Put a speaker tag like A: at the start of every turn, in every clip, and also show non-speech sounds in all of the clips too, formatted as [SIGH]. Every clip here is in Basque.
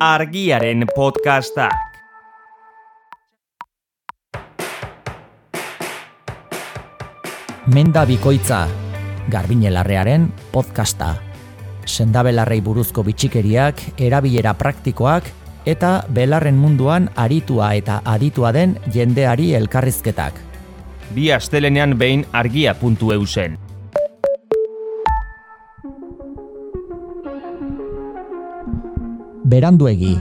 A: argiaren podcastak.
B: Menda Bikoitza, Garbinelarrearen podcasta. Sendabelarrei buruzko bitxikeriak, erabilera praktikoak eta belarren munduan aritua eta aditua den jendeari elkarrizketak.
A: Bi astelenean behin argia.eusen.
B: Beranduegi,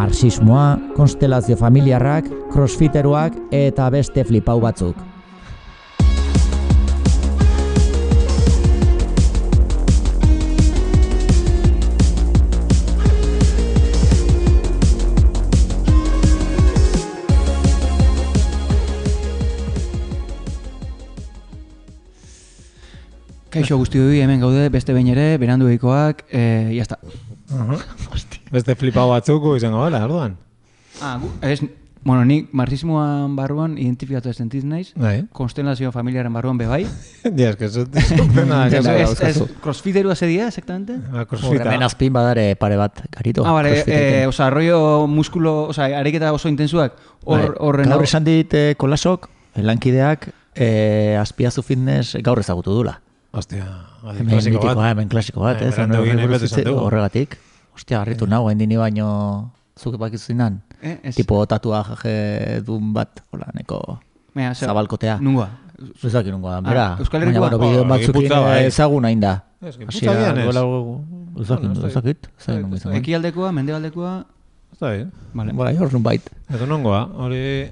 B: marxismoa, konstelazio familiarrak, crossfiteroak eta beste flipau batzuk.
C: Kaixo guzti du, hemen gaude, beste behin ere, berandu egikoak, e, jazta.
D: [LAUGHS]
E: Beste flipau batzuk gu izango dela, orduan.
C: Ah, gu, ez, bueno, nik marxismoan barruan identifikatu ez sentiz naiz,
E: Bai.
C: konstelazio familiaren barruan bai. bebai.
E: Ja, eske [LAUGHS] zu
D: [LAUGHS]
E: pena
D: Ah,
C: Ez,
E: da
C: ez, ez, crossfiterua zedia, exactamente?
E: Ah,
B: Horremen
E: crossfita.
B: azpin badare pare bat, garito.
C: Ah, bale,
B: crossfitekin.
C: e, oza, rollo muskulo, oza, areketa oso intensuak, hor, horren
D: Gaur
C: hor-
D: esan dit eh, kolasok, lankideak, eh, azpiazu fitness gaur ezagutu dula.
E: Hostia, hadi
D: Hemen
E: klasiko
D: mitikoa,
E: bat.
D: hemen klasiko bat,
E: Eh,
D: ez?
E: berandu
D: Horre-
E: egin nahi
D: horre-
E: bat esan dugu. Eh.
D: Horregatik. Ostia, harritu nau, hain dini baino zuke bakizunan.
C: Eh, ez.
D: Tipo tatuaje dun bat, hola, neko
C: Mea, ze-
D: zabalkotea.
C: Nungoa.
D: Zuzak irungo da, bera.
C: Euskal Herrikoa?
D: Baina, bueno, bideo
E: Ah,
D: batzuk
E: Gipuzkoa bai.
D: ezagun hain da.
E: Ez, Gipuzkoa
D: Hasiera,
E: dian ez.
D: duela gu- Ezagun,
E: Bueno, ez dakit.
D: ezakit,
E: Ez
D: ezakit nungo
E: dakit,
D: izan.
C: Eki aldekoa, mende aldekoa,
E: Está bien.
C: vale.
D: Bai, hor nunbait.
E: Edo nongoa,
D: [COUGHS]
E: ah, hori...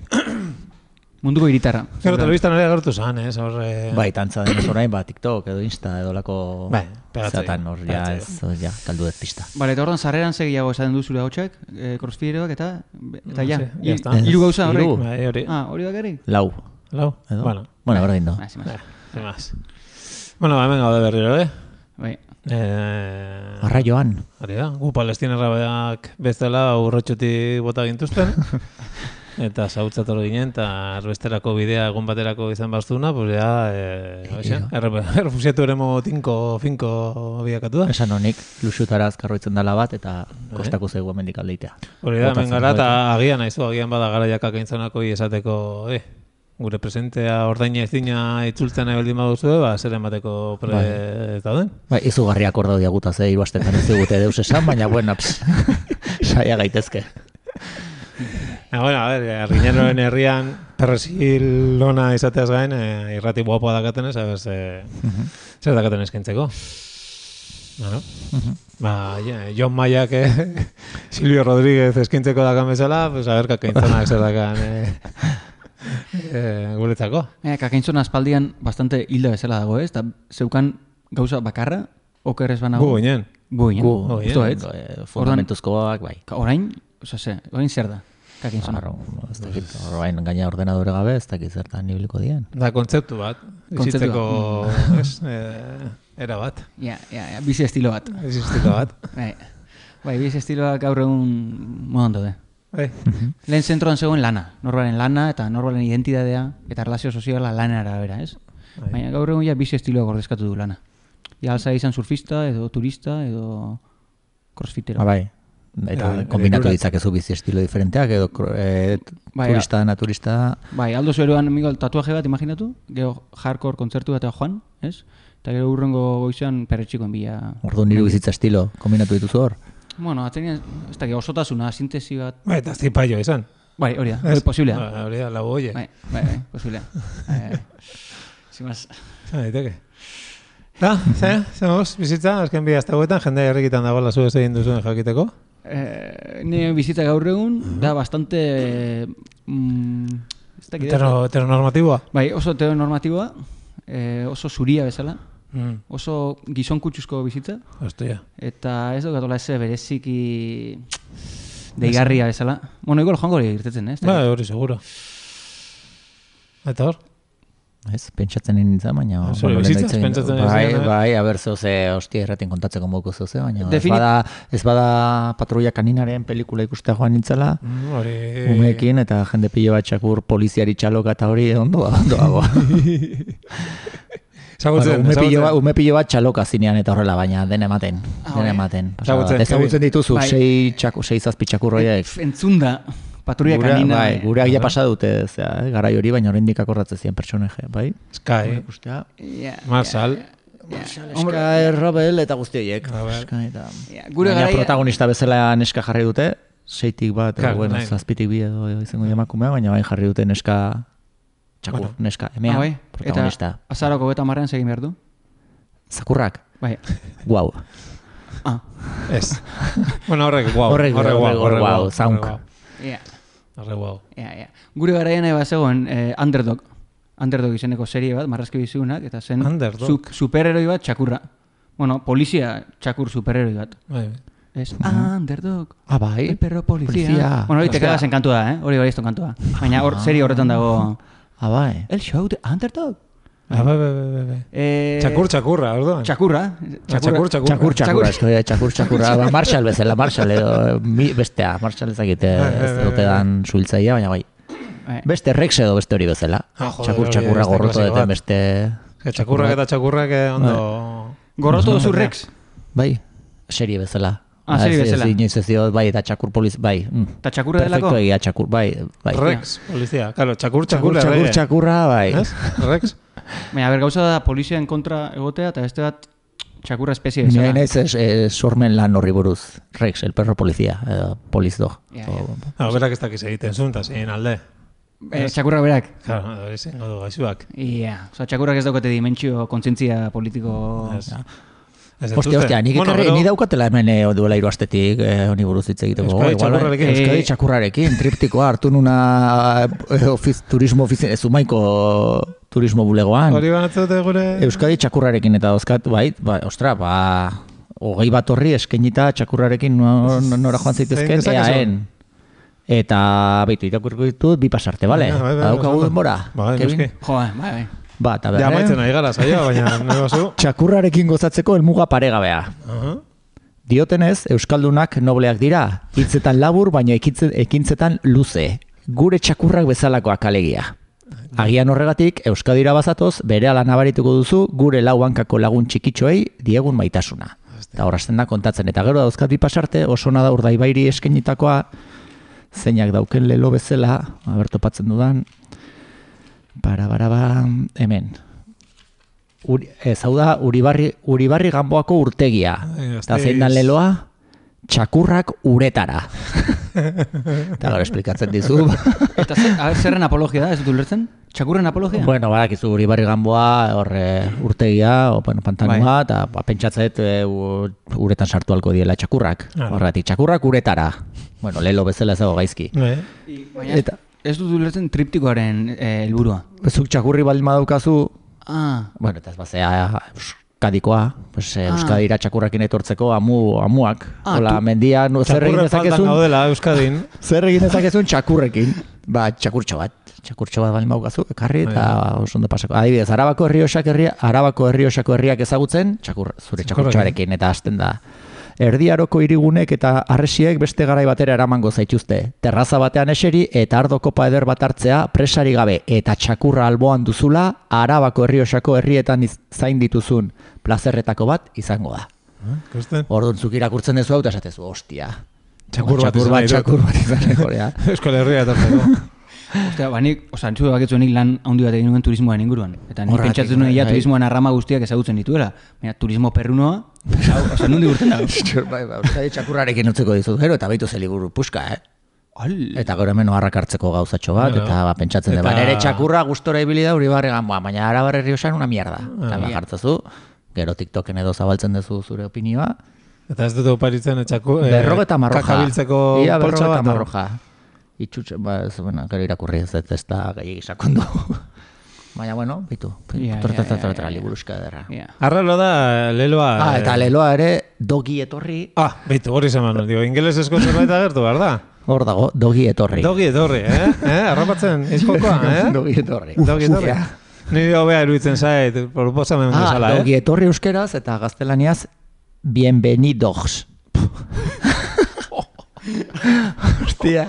C: munduko hiritarra.
E: Gero telebistan ere agertu zan, ez, hor... eh,
D: Bai, tantza denez orain, ba, TikTok edo Insta edo lako
E: Bai, pegatzei,
D: zeatan hor, ja,
E: pegatzei.
D: ez, hor, ja, kaldu ez pista.
C: Vale, eta ordan sarreran segiago esaten du zure hotxak, eh, crossfiteroak eta, eta
E: No
C: ja,
E: sé, ya
C: hi-
E: está.
C: hiru gauza
E: Hiru,
C: horrek.
E: bai, hori.
C: Ah, hori bakarrik?
D: Lau,
E: Lau,
D: edo?
E: bueno. Eh,
D: bueno, berdin do.
C: Ah, sin más.
E: Sin más. Bueno, hemen gaude berriro, eh?
C: Bai.
E: Eh,
D: Arra joan,
E: Hori da, gu palestinarrak bezala urrotxotik bota gintuzten. eta zautzat hori ginen, eta erbesterako bidea egun baterako izan baztuna, pues ja, eh, hoxe, erre- errefusiatu ere tinko, finko biakatu da.
D: Ba, esan honik, luxutara azkarroitzen dela bat, eta kostako zaigu hemendik aldeitea.
E: Hori da, hemen
D: Botatzen
E: gara, eta
D: duetan.
E: agian haizu, agian bada gara jakak eintzanako esateko, eh, gure presentea ordaina ezina itzultzen nahi baldin baduzue, ba, zer emateko pre ez dauden.
D: Bai, izugarriak hor daudia gutaz, eh, ibasten ez digute deus esan, baina bueno, ps, [LAUGHS] saia gaitezke.
E: Ah, bueno, a ver, Arriñaroen herrian perresil lona izateaz gain, eh, irrati guapoa dakatenez, a ver, ze,
C: Mhm.
E: zer dakaten eskaintzeko. Bueno,
C: Mhm.
E: ba, ja, John Mayak, eh, [LAUGHS] Silvio Rodríguez eskaintzeko dakan bezala, pues, a ver, kakaintzanak zer dakan
C: [LAUGHS]
E: eh, eh, guretzako.
C: Eh, kakaintzon aspaldian bastante hilda bezala dago, ez? Ta zeukan gauza bakarra, oker ez banago.
E: Gu ginen.
C: Gu ginen.
D: Gu,
E: Oh,
C: Justo,
E: yeah.
C: ez?
D: eh, fundamentuzkoak, bai.
C: Ka- Orain, oza, ze, orain zer da, kakaintzona.
D: Arro, ez dakit, horrein gaina ordenadore gabe, ez dakit zertan ibiliko dien.
E: Da, kontzeptu bat.
C: Kontzeptua.
E: Bizitzeko,
C: Mhm.
E: ez, eh, era bat.
C: Ja, ja, ja, bizi estilo bat.
E: Existiko bat.
C: [LAUGHS] Bai, bai bizi estiloak gaur egun modan daude.
E: Bai.
C: Lehen zentroan zegoen lana, norbaren lana eta norbaren identidadea eta relazio soziala lanera bera, ez?
E: Bai.
C: Baina gaur egun ja bizi estiloak ordezkatu du lana. Ja, alza izan surfista edo turista edo crossfitero.
D: Ba, bai. Eta
E: Edo-
D: kombinatu
E: edo-
D: ditzakezu bizi estilo diferenteak edo kro- eh,
C: Bai,
D: turista, naturista,
C: Bai, Aldo Zueroan Miguel tatuaje bat imaginatu, gero hardcore kontzertu eta joan, ez? Eta gero urrengo goizean perretxikoen bila...
D: ordu niru bizitza estilo, kombinatu dituzu hor.
C: Bueno, atzenean, ez dakit, osotasuna, sintesi bat...
E: Bai, eta zipaio izan.
C: Bai, hori da, hori posiblea.
E: Ba, Hori da, lau oie.
C: Bai, bai, bai, posiblea. Eh, sin más.
E: Zan daiteke. Da, ze, ze moz, bizitza, azken bi azte guetan, jende herrikitan dagoela zu ez egin duzuen jakiteko.
C: Eh, nire bizitza gaur egun, da bastante... Mm, ez dakit,
E: Etero, heteronormatiboa.
C: Bai, oso teonormatiboa, eh, oso zuria bezala,
E: Mm.
C: oso gizon kutsuzko bizitza,
E: Ostia.
C: Eta ez daukatola ez bereziki deigarria bezala. Bueno, igual joango hori irtetzen, eh?
D: Bai.
C: ez?
E: Ba, hori seguro. Eta hor?
D: Ez, pentsatzen nintzen, baina...
E: Zure
D: lehen
E: bizitzaz
D: hitz egin-
E: pentsatzen ez
D: Bai,
E: dena.
D: bai, aber zeu ze, hostia, erraten kontatzeko moduko zeu ze, baina...
C: Defini-
D: Ez bada, ez bada patrulla kaninaren pelikula ikustea joan nintzela,
E: Mm, Hori...
D: Eh. umeekin, eta jende [LAUGHS] pilo bat txakur poliziari txaloka eta hori ondo da, ondo dago.
E: Zagutzen,
D: ume,
E: zagutzen.
D: pilo bat, ume pilo bat txaloka zinean eta horrela, baina den ematen.
C: Ah,
D: den
C: bai.
D: ematen. pasada bat.
E: Ezagutzen,
D: Ezagutzen
E: Kevin.
D: dituzu,
C: Bai.
D: sei, txaku, sei zazpi txakurroiek.
C: Entzunda, patrulla
D: Gura,
C: kanina.
D: bai, gure agia pasa dute, zera, eh? garai hori, baina oraindik akorratzen ziren pertsonaje, bai?
E: Sky,
D: Ikustea.
C: Ja,
E: [LAUGHS] Marshall,
D: Bai.
C: hombre,
D: Eska, eh, Robel eta guzti horiek.
E: Robel.
D: Eska eta...
C: ja, gure
D: Baina
C: garaia-
D: protagonista bezala neska jarri dute, seitik bat,
E: Claro,
D: edo, bueno,
E: nahi.
D: zazpitik bi edo izango dira emakumea, baina bai jarri dute neska txakur,
E: Bueno.
D: neska,
C: Ah,
D: emea,
C: bai. Eta
D: protagonista.
C: azaroko beta marrean segin behar du.
D: Zakurrak, [LAUGHS]
C: Bai.
D: guau.
C: Ah,
E: ez. bueno, horrek, guau.
D: Horrek, horrek,
E: guau,
D: horrek, guau,
E: guau,
D: zaunk.
E: horrek, guau.
C: ja,
E: Horrek, guau.
C: ja, ja. Gure garaian eba zegoen eh, Underdog. Underdog izeneko serie bat, marrazki biziunak, eta zen
E: Underdog.
C: zuk superheroi bat txakurra. Bueno, polizia txakur superheroi bat.
E: Bai, bai.
C: Es Underdog.
D: Ah, bai.
C: El perro policía.
D: Policía.
C: Bueno, hori te quedas enkantua da, eh? Hori hori esto kantua. Baina hor, serie horretan dago...
D: Ah, bai.
C: El show de Underdog.
E: Ah, bai, bai, bai, bai, bai.
C: Eh,
E: Txakur, txakurra, orduan.
C: Txakurra.
E: txakur,
D: Txakur,
E: txakur.
C: Txakur.
D: txakurra, esko, eh, txakur, txakurra, ba, Marshall bezala, Marshall edo, eh, mi, bestea, Marshall ezakite, ez dute dan suiltzaia, baina bai.
C: Bai.
D: Beste Rex edo beste hori bezala.
E: Ah, joder,
D: txakur,
E: hori
D: txakurra
E: beste
D: gorroto
E: klasiko bat.
D: duten beste...
E: Eh, Txakurrak eta txakurrak eh, ondo...
C: Gorroto duzu Rex.
D: Bai, serie bezala.
C: Ah, serie
D: Ez-
C: bezala.
D: Ez, inoiz ez diot, bai, eta txakur poliz, bai. Mm.
C: Eta txakurra delako?
D: Perfecto egia, txakur, bai. bai.
E: Rex, polizia. Claro, txakur,
D: txakur,
E: txakurra,
D: txakur, txakurra, bai.
E: Rex?
C: Baina, ber, gauza da poliziaen kontra egotea eta beste bat txakurra espezie
D: Ni
C: bezala.
D: naiz ez, eh, sormen lan horri buruz. Rex, el perro policía, eh, poliz dog.
C: Ja,
D: O-
E: [LAUGHS] Ah, berak ez dakiz egiten zuen, eta zein alde.
C: Eh, txakurra berak.
E: Claro, hori zengo du gaixuak.
C: Ia. Osa, txakurrak ez daukate dimentsio kontzientzia politiko...
E: Ez. Ez dut
D: Ostia,
E: uste.
D: ostia, nik ekarri,
E: pero-
D: ni daukatela hemen eh, duela hiru astetik eh, honi buruz hitz egiteko. Igual,
E: Euskadi
D: bai,
E: txakurrarekin.
D: Euskadi
C: Eh,
D: txakurrarekin, triptikoa hartu nuna eh, ofiz, turismo ofizien, zumaiko turismo bulegoan.
E: Hori banatzen dute gure...
D: Euskadi txakurrarekin eta dauzkat, bai, bai, ostra, ba, hogei bat horri eskenita txakurrarekin no- no- nora joan
E: Zein
D: zitezken,
E: dezakezu?
D: eaen. Eta, baitu, irakurko ditut, bi pasarte, bale?
E: Ah, bai, bai,
D: Daukagu
E: oso ondo.
D: denbora,
E: Bai,
D: Kevin?
E: noski.
C: Jo, bai, bai.
D: Ba, eta
E: Ja,
D: behar,
E: amaitzen ari gara, saioa,
D: [LAUGHS]
E: baina nahi bazu.
D: Txakurrarekin gozatzeko helmuga paregabea.
E: Aha.
D: Diotenez, Euskaldunak nobleak dira, hitzetan labur, baina ekitze- ekintzetan luze. Gure txakurrak bezalakoak alegia. Agian horregatik, Euskadira bazatoz, bere ala nabarituko duzu, gure lau hankako lagun txikitxoei diegun maitasuna. Eta horrazten da kontatzen, eta gero dauzkat bi pasarte, oso ona da urdaibairi eskenitakoa, zeinak dauken lelo bezala, abertopatzen dudan, para, para, ba, hemen. Uri, ez, hau da, Uribarri, Uribarri ganboako urtegia.
E: Ai,
D: Eta zein dan
E: gazteiz.
D: leloa? Txakurrak uretara. Eta gara esplikatzen dizu.
C: Eta zer, a ber, zerren apologia da, ez dut ulertzen? Txakurren apologia?
D: bueno, badakizu Uribarri ganboa, hor eh, urtegia, o, bueno, pantanua, eta ba, pentsatzet eh, u- uretan sartu halko diela txakurrak.
E: Ah.
D: Horretik, txakurrak uretara. Bueno, lelo bezala ez dago gaizki.
E: Bai.
C: Baina ez-
D: eta-
C: ez dut ulertzen triptikoaren eh, helburua.
D: Zuk txakurri baldin badaukazu,
C: Ah,
D: Bueno, eta ez bazea Euskadikoa, pues, eh, Euskadira txakurrakin etortzeko amu, amuak.
C: Ah,
D: Hola, mendian, zer egin
E: Txakurra faltan
D: dezakezun,
E: gaudela Euskadin.
D: [LAUGHS] zer egin dezakezun txakurrekin. Ba, txakurtxo bat, txakurtxo bat balin baukazu, ekarri eta
E: Bai.
D: oso ondo pasako. Adibidez, Arabako herriosak herria, Arabako herriosako herriak ezagutzen, txakur, zure txakurtxoarekin eta hasten da. Erdiaroko hirigunek eta arresiek beste garai batera eramango zaituzte. Terraza batean eseri eta ardo kopa eder bat hartzea presari gabe eta txakurra alboan duzula Arabako herriosako herrietan iz- zain dituzun plazerretako bat izango da.
E: Ah, Ikusten?
D: Orduan zuk irakurtzen duzu hau eta esatezu, hostia.
E: Txakur bat
D: txakur
E: izan
D: bat,
E: nahi dut.
D: txakur bat izan korea.
E: [LAUGHS] Euskal Herria etortzeko.
C: ostia, ba nik, osa, entzule bakitzu nik lan handi bat egin nuen turismoan inguruan. Eta nik
D: Horregatik,
C: pentsatzen nuen, ja,
D: bai.
C: turismoan arrama guztiak ezagutzen dituela. Baina, turismo perrunoa, hau, osa, nundi urten
E: [LAUGHS]
D: [LAUGHS]
C: dago.
D: bai, bai, Euskadi txakurrarekin utziko dizut gero eta baitu zeliburu puska, eh?
C: Al,
D: Eta gero hemen oharrak hartzeko gauzatxo bat,
E: Bueno.
D: eta ba, pentsatzen
E: Eta-
D: eta... nere txakurra gustora ibili da hori barregan, ba, baina arabar herri osan una mierda.
E: Ah.
D: Eta ba, jartzazu, gero TikToken edo zabaltzen duzu zure opinioa.
E: Eta ez dut oparitzen etxako... eh,
D: berrogeta marroja.
E: Kakabiltzeko
D: Ia
E: poltsa
D: berrogeta
E: bat. no?
D: marroja. Itxutxe, ba, ez, bueno, gero irakurri ez dut ez da gehiagik sakondu. [LAUGHS] baina, bueno, bitu.
C: Ja,
D: Yeah,
C: ja,
D: torta,
C: ja, ja, ja.
D: liburuzka ederra.
C: ja.
E: Arralo da leloa...
D: Ah,
E: eh,
D: eta leloa ere, dogi etorri,
E: Ah, beitu, hori zeman, digo, ingeles esko zerbait agertu, behar da?
D: hor dago, dogi etorri.
E: Dogi etorri, eh? eh? Arrapatzen, izkokoa, eh?
D: Dogi etorri.
E: [LAUGHS] Dogi etorri.
D: Ufea.
E: Nire hobea iruditzen zait, proposamen
D: Ah,
E: bezala,
D: dogi
E: eh?
D: etorri euskeraz eta gaztelaniaz
E: [LAUGHS]
D: bienvenidos. Hostia.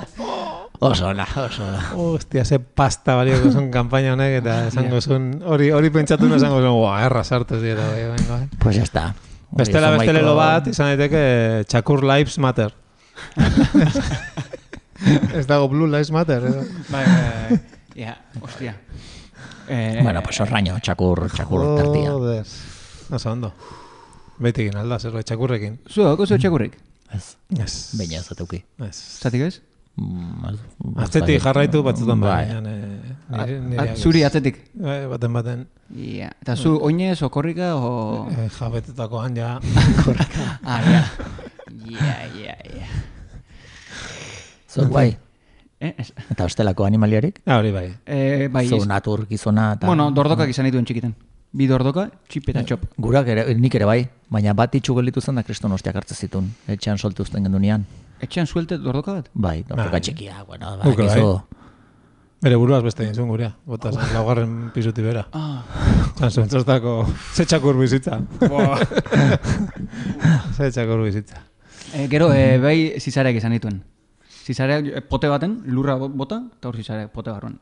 B: Oso ona, oso ona.
E: Hostia, ze pasta balioko zuen kampaina honek eta esango zuen, hori hori pentsatu nuen esango zuen, "Buah, erra sartuz dieta bai, venga, bai."
B: Pues ya está. Hori
E: Bestela
B: izan
E: bestelelo
B: baiko-
E: bat, izan daiteke Txakur Lives Matter. [LAUGHS] Ez dago Blue Lives Matter, edo.
C: Bai, bai, bai. Ja, hostia. Eh,
B: Bueno, pues horraño, txakur, txakur tartia.
E: Joder. Oso ondo. Beitekin alda, zerbait txakurrekin.
C: Zuek, oso txakurrik.
B: Ez,
E: Ez.
B: baina ez ateuk.
E: Ez.
C: Zatik ez?
B: Mm, ez-
E: Atzetik jarraitu batzutan bai.
B: Bai.
E: baina, eh, nire- nire
C: A-
E: aldiz.
C: Ah, Zuri atzetik.
E: Bai, baten baten.
C: Ja. Eta zu oinez,
B: [LAUGHS]
C: okorrika, o...
E: Eh, Jabetetako
C: [LAUGHS]
E: ja.
C: Ah, ja. Ja, ja, ja.
B: Zuek bai,
C: Eh, ez.
B: eta bestelako animaliarik?
E: Ah, Hori bai.
C: Eh, bai,
B: Zu
C: ez.
B: natur gizona eta...
C: Bueno, dordokak izan dituen txikitan. Bi dordoka, txip eta txop.
B: Gurak ere, nik ere bai, baina bat itxu gelditu zen da kriston ostiak hartze zitun. Etxean soltu zen gendu nian.
C: Etxean suelte dordoka bat?
B: Bai, dortuka
E: Bai.
B: txikia, bueno, ba,
E: Guk ere
B: gizu,
E: Bere buruaz beste egin zuen gurea. Bota
C: Oh.
E: zen, laugarren pisuti bera.
C: Ah.
E: Zan
C: [LAUGHS]
E: zuen txostako, ze txakur bizitza. Ze txakur bizitza.
C: Eh, gero, eh, bai, zizareak izan dituen. Zizareak eh, pote baten, lurra bo- bota, eta hor zizareak pote barruan.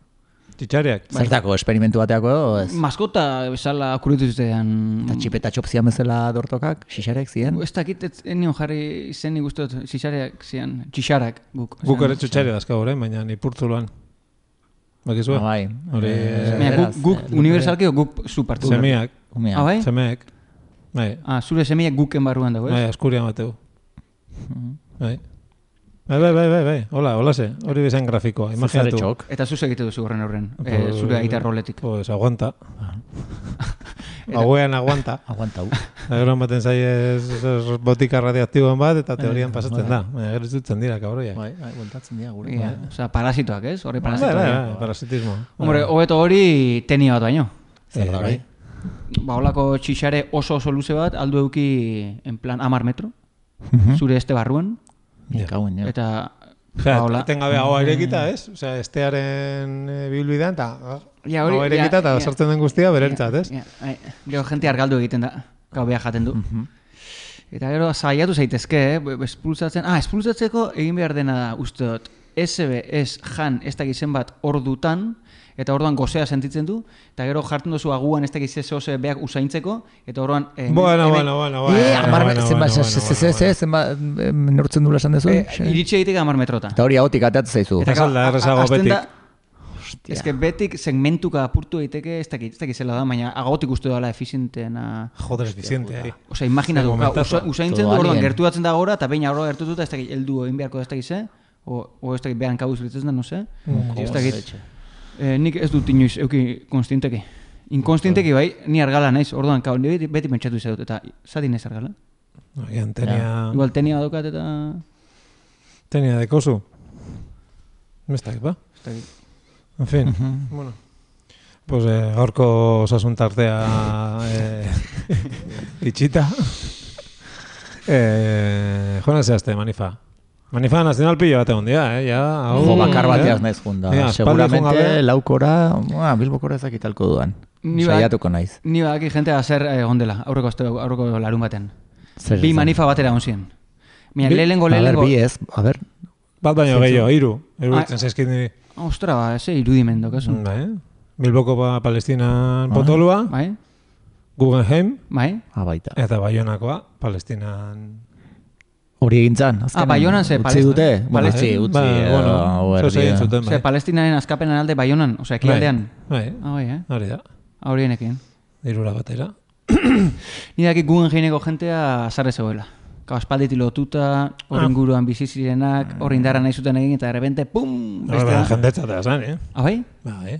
E: Txitxariak.
B: Zertako, esperimentu bateako edo, ez?
C: Maskota bezala kuritu zitean...
B: Eta txipeta txopzian bezala dortokak, xixarek ziren.
C: Ez dakit, ez ez nion jarri izen nik uste dut, zizareak zian, txixarak guk.
E: Guk ere txutxari dazka orain, baina ipurtzuloan. Bakizue?
B: Ah, bai.
E: Hori,
B: Eh,
C: Baina, guk,
B: Beraz,
C: guk universalki edo guk zu partidu.
E: semiak.
B: Umea.
C: Ah, bai?
E: Semeek. Bai,
C: Ah, zure semiak guken barruan dago,
E: bai,
C: ez?
E: askuria mateu. Bai. Bai, bai, bai, bai, bai. Hola, hola ze. Hori bezain grafikoa,
B: Zare
E: imaginatu.
B: txok.
C: Eta zuz egite duzu horren horren, eh,
E: bai,
C: zure aita roletik.
E: Pues aguanta. [LAUGHS] Hauean aguanta.
B: Aguantau.
E: Eta Gero ematen zaie ez- ez botika radioaktiboan bat eta teorian pasatzen da. Baina gero zutzen dira, kabroiak. Bai,
B: Bai, bai, guantatzen dira gure.
C: Ja,
D: bai.
C: osea, parasitoak, ez? Horre
E: bai, bai,
C: parasitoak.
E: parasitismo. Bai,
C: Hombre, hobeto hori tenia bat baino.
E: Eh,
B: Zer da hori?
C: Ba, holako txixare oso oso luze bat, aldu eduki, en plan, amar metro, zure este barruan,
B: Ni kauen, ja.
C: eta...
E: Osea,
C: ba, hola.
E: etengabe hau irekita, ez? Osea, estearen eh, bilbidean, eta
C: Ja,
E: ja,
C: hori-
E: hau
C: ja,
E: irekita, eta
C: ja.
E: sartzen den guztia berentzat, ez?
C: Ja, bai. Gero jente argaldu egiten da, gaubea jaten du.
E: Mhm.
C: Eta gero saiatu zaitezke, eh? be- espulsatzen, ah, espulsatzeko egin behar dena da, uste dut, SB, ez, jan, ez dakiz zenbat ordutan, eta orduan gozea sentitzen du, eta gero jartzen duzu aguan ez dakiz ez oso beak usaintzeko, eta orduan... eh,
E: Bueno,
C: hemen-
E: bueno, bueno, bueno.
B: Eh,
E: bueno,
B: amar,
E: bueno,
B: zenba,
E: bueno,
B: ze- ze- ze-
E: bueno, bueno.
B: ze- zenba, eh, neurtzen dula esan dezu?
C: Eh, iritsi egiteke hamar metrota.
B: Eta hori ahotik ateatzen zaizu.
E: Eta-
C: gero,
E: ez alda
C: a- a-
E: errazago
C: hasten
E: betik.
C: da- Ez que betik segmentuka apurtu daiteke, ez dakit, ez dakit zela da, baina agotik uste dela efizienteena.
E: Joder, eficiente, eh. ahí.
C: Osea, imaginatu,
E: Ze
C: claro,
E: momentazo.
C: usa- usaintzen du,
B: Todo
C: orduan
B: alien.
C: gertuatzen da gora, eta behin aurora gertututa, ez dakit, heldu egin beharko ez dakit ze, o, o ez dakit behan kabuz gertzen da, no se?
B: Mm,
C: ez dakit, eh, nik ez dut inoiz, euki konstienteki. Inkonstienteki bai, ni argala naiz, orduan, kao, ni beti, beti pentsatu izan dut, eta zadin ez argala.
E: Agian
B: Ah.
E: tenia...
C: Igual tenia badokat eta...
E: Tenia dekozu. Mestak, ba?
C: Ez dakit.
E: En fin, bueno. Pues eh, gaurko osasun tartea eh, [LAUGHS] itxita. [LAUGHS] eh, joan zehazte, manifa. Manifa nazional pilo bat egon dira, eh? Ja, hau,
B: Jo, bakar
E: eh?
B: bateaz naiz junda.
E: Ja, aspaldi joan
B: Seguramente
E: gabe.
B: laukora, ah, bilbokora ezakit halko duan.
C: Ni bai. bat-
B: Saiatuko naiz.
C: Ni badaki jentea zer eh, ondela, aurreko, aste, aurreko larun baten.
B: Zer
C: Bi
B: esan?
C: manifa batera onzien. Mira,
E: Bi-
C: lehenengo,
B: A ber,
C: lehenengo...
B: bi eh. ez, a ber,
E: Bat baino gehiago, hiru. Hiru
C: Ah.
E: ditzen zaizkit niri.
C: Ostra, ba, ze irudimendo, kasu.
B: Mm.
E: Ba, eh? Bilboko ba, Palestinan potolua,
C: Bai?
E: Guggenheim,
C: Bai?
B: ah, baita.
E: eta Baionakoa, Palestinan...
B: Hori egintzan.
C: Ah, Baionan ze,
B: Utzi
C: Palestin-
B: dute? Bueno,
C: Palestin-
B: utzi, utzi.
E: Ba,
D: eh,
E: bueno, zeu zein zuten,
C: Ose,
E: bai.
C: palestinaren azkapenen alde Baionan, osea,
E: Bai,
C: ekialdean.
E: Bai,
C: Ah, bai, eh?
E: hori da.
C: Horienekin.
E: Dirura batera.
C: Ni daki guen jeineko jentea azarre zegoela. Kau, espalditi lotuta,
E: Ah.
C: hor inguruan bizi zirenak, hor indarra nahi zuten egin, eta errebente, pum,
E: Hori da,
C: beste.
E: jendetza da, zan, eh?
C: Ah, bai?
E: Ba, eh?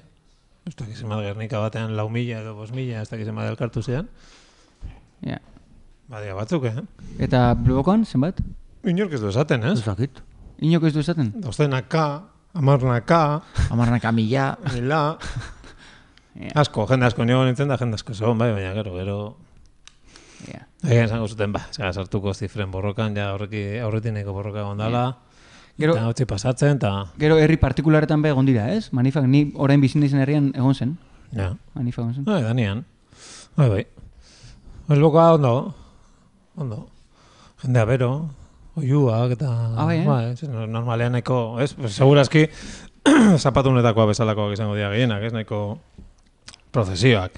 E: Ez dakiz emat Gernika batean lau mila edo bos mila, ez dakiz emat elkartu zean.
C: Ja.
E: Ba, dira batzuk, eh?
C: Eta blokoan, zenbat?
E: Inork ez du esaten, ez?
B: Ezakit.
C: Inoko ez du esaten?
E: Dozenaka, amarnaka,
B: Amarnak amila.
E: mila...
C: [LAUGHS] Ja.
E: Asko, jende asko nigo nintzen da, jende asko zegoen, bai, baina gero, gero...
C: Ja.
E: Egin esango zuten, ba, zera, sartuko zifren borrokan, ja aurreki, aurretineko borroka gondala,
C: Gero,
E: eta hotzi pasatzen, eta...
C: gero herri partikularetan be egon dira, ez? Manifak, ni orain bizi naizen herrian egon zen.
E: Ja.
C: Manifak egon zen.
E: Bai, Danian. Bai, bai. Bilbokoa ondo. Ondo. Jendea bero. oiuak eta...
C: Ah, bai, eh?
E: ez, no- normalean nahiko, ez, pues, [CLEARS THROAT] segurazki zapatunetakoa bezalakoak izango dira gehienak, ez, nahiko prozesioak.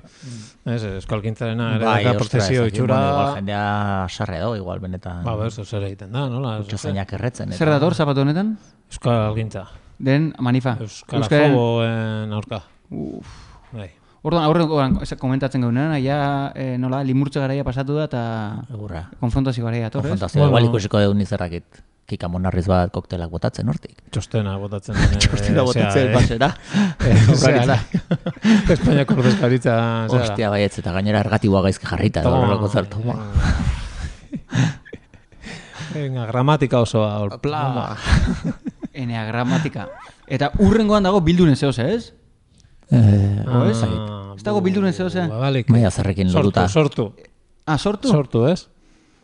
E: Ez, euskalkintzarena ere
D: Mm. Bai,
E: daka
D: ostras,
E: prozesio
D: dakit,
E: itxura...
D: bueno, igual jendea sarre dago, igual benetan.
E: Ba, ber, zer egiten da, nola? ez,
D: Txozainak
E: Ah.
D: erretzen.
C: Zer dator zapatu honetan?
E: Euskalgintza.
C: Den manifa. Euskararen-
E: Euskalafoboen aurka.
C: Uf.
E: Bai.
C: Orduan aurrekoan esa- komentatzen genuena, ja eh, nola limurtze garaia pasatu da eta
D: Egurra.
C: konfrontazio garaia dator, ez?
D: Konfrontazioa,
E: Bueno.
D: igual ikusiko deun izarrakit. Kika monarriz bat koktelak botatzen hortik.
E: Eh, Txostena
C: [LAUGHS]
E: botatzen. eh,
D: Txostela botatzen
E: [LAUGHS]
D: basera.
E: Zera, eh, [LAUGHS] Espainiako ordezkaritza. zera.
D: Ostia baietz, bai, eta gainera ergatibua gaizki jarrita.
E: Toma.
D: Horrelako zer, toma.
E: [LAUGHS] Venga, gramatika osoa. hor.
D: Pla.
C: Enea gramatika. Eta urrengoan dago bilduren zehoz, ez?
D: Eh,
E: Ah,
C: Ez dakit. Ez dago bilduren zeo zen?
E: ba, balik.
D: Maia zerrekin lotuta.
E: Sortu, sortu.
C: Ah, sortu?
E: Sortu, ez?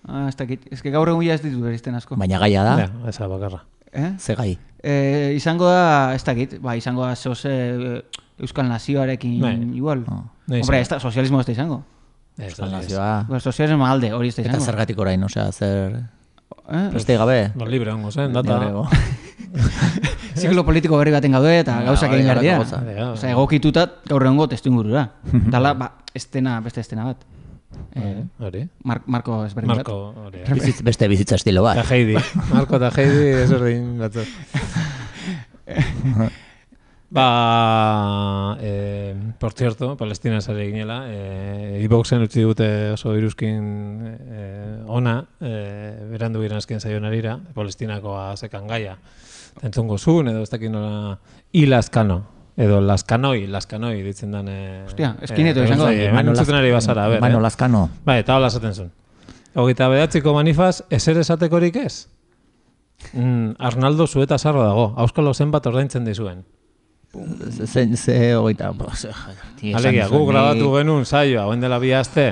C: Ah, ez dakit. Ez que gaur egun ja ez ditu beristen asko.
D: Baina gaia da,
E: Ah. Ja, esa bakarra.
C: Eh?
D: ze gai.
C: Eh, izango da, ez dakit, ba, izango da zehoz eh, Euskal Nazioarekin
E: Bai.
C: igual.
E: No izango.
C: Hombre, ez da, sozialismo ez da izango.
E: Ez,
D: Euskal
E: ez.
D: Nazioa.
C: Ba, sozialismo alde, hori ez da
D: Ah. Eta
C: izango.
D: zergatik orain, osea, zer...
C: Eh?
D: Beste gabe.
E: Ba, libre hongo zen, data.
D: Librego.
C: Ziklo politiko berri baten gaude eta
E: Ah,
C: gauzak
D: hori
E: bai,
C: egin behar
D: da
C: dira.
D: gauza,
E: ja.
C: Osea, egokituta gaur egungo testu
E: [LAUGHS]
C: ingurura. Dala, ba, estena, beste estena bat. Eh,
E: Hori.
C: Mar Marko ezberdin
E: Marko, hori. eh.
D: Bizitz- Beste bizitza estilo
E: Eta
D: bat.
E: Heidi. Marko eta Heidi ez ordin batzuk. ba, eh, por cierto, Palestina zare ginela, eh, iboxen utzi dute oso iruzkin eh, ona, eh, berandu giren azken zaion arira, Palestinakoa zekan gaia. Entzungo zuen, edo ez dakit nola, ilazkano, edo laskanoi, laskanoi ditzen dan... Eh,
C: Hostia, eskineto izango.
E: Eh, hemen
D: Mano
E: entzuten ari bazara, ber, eh?
D: Mano Lazkano.
E: Bai, eta hola esaten zuen. Hogeita bedatziko manifaz, ezer esatekorik ez? Mm, Arnaldo zueta zarra dago, auskalo zenbat ordaintzen dizuen.
D: Zein, ze hogeita... bo, ze- tio, esan
E: Alegia, gu
D: zuen,
E: grabatu genuen saioa, hauen dela bi aste,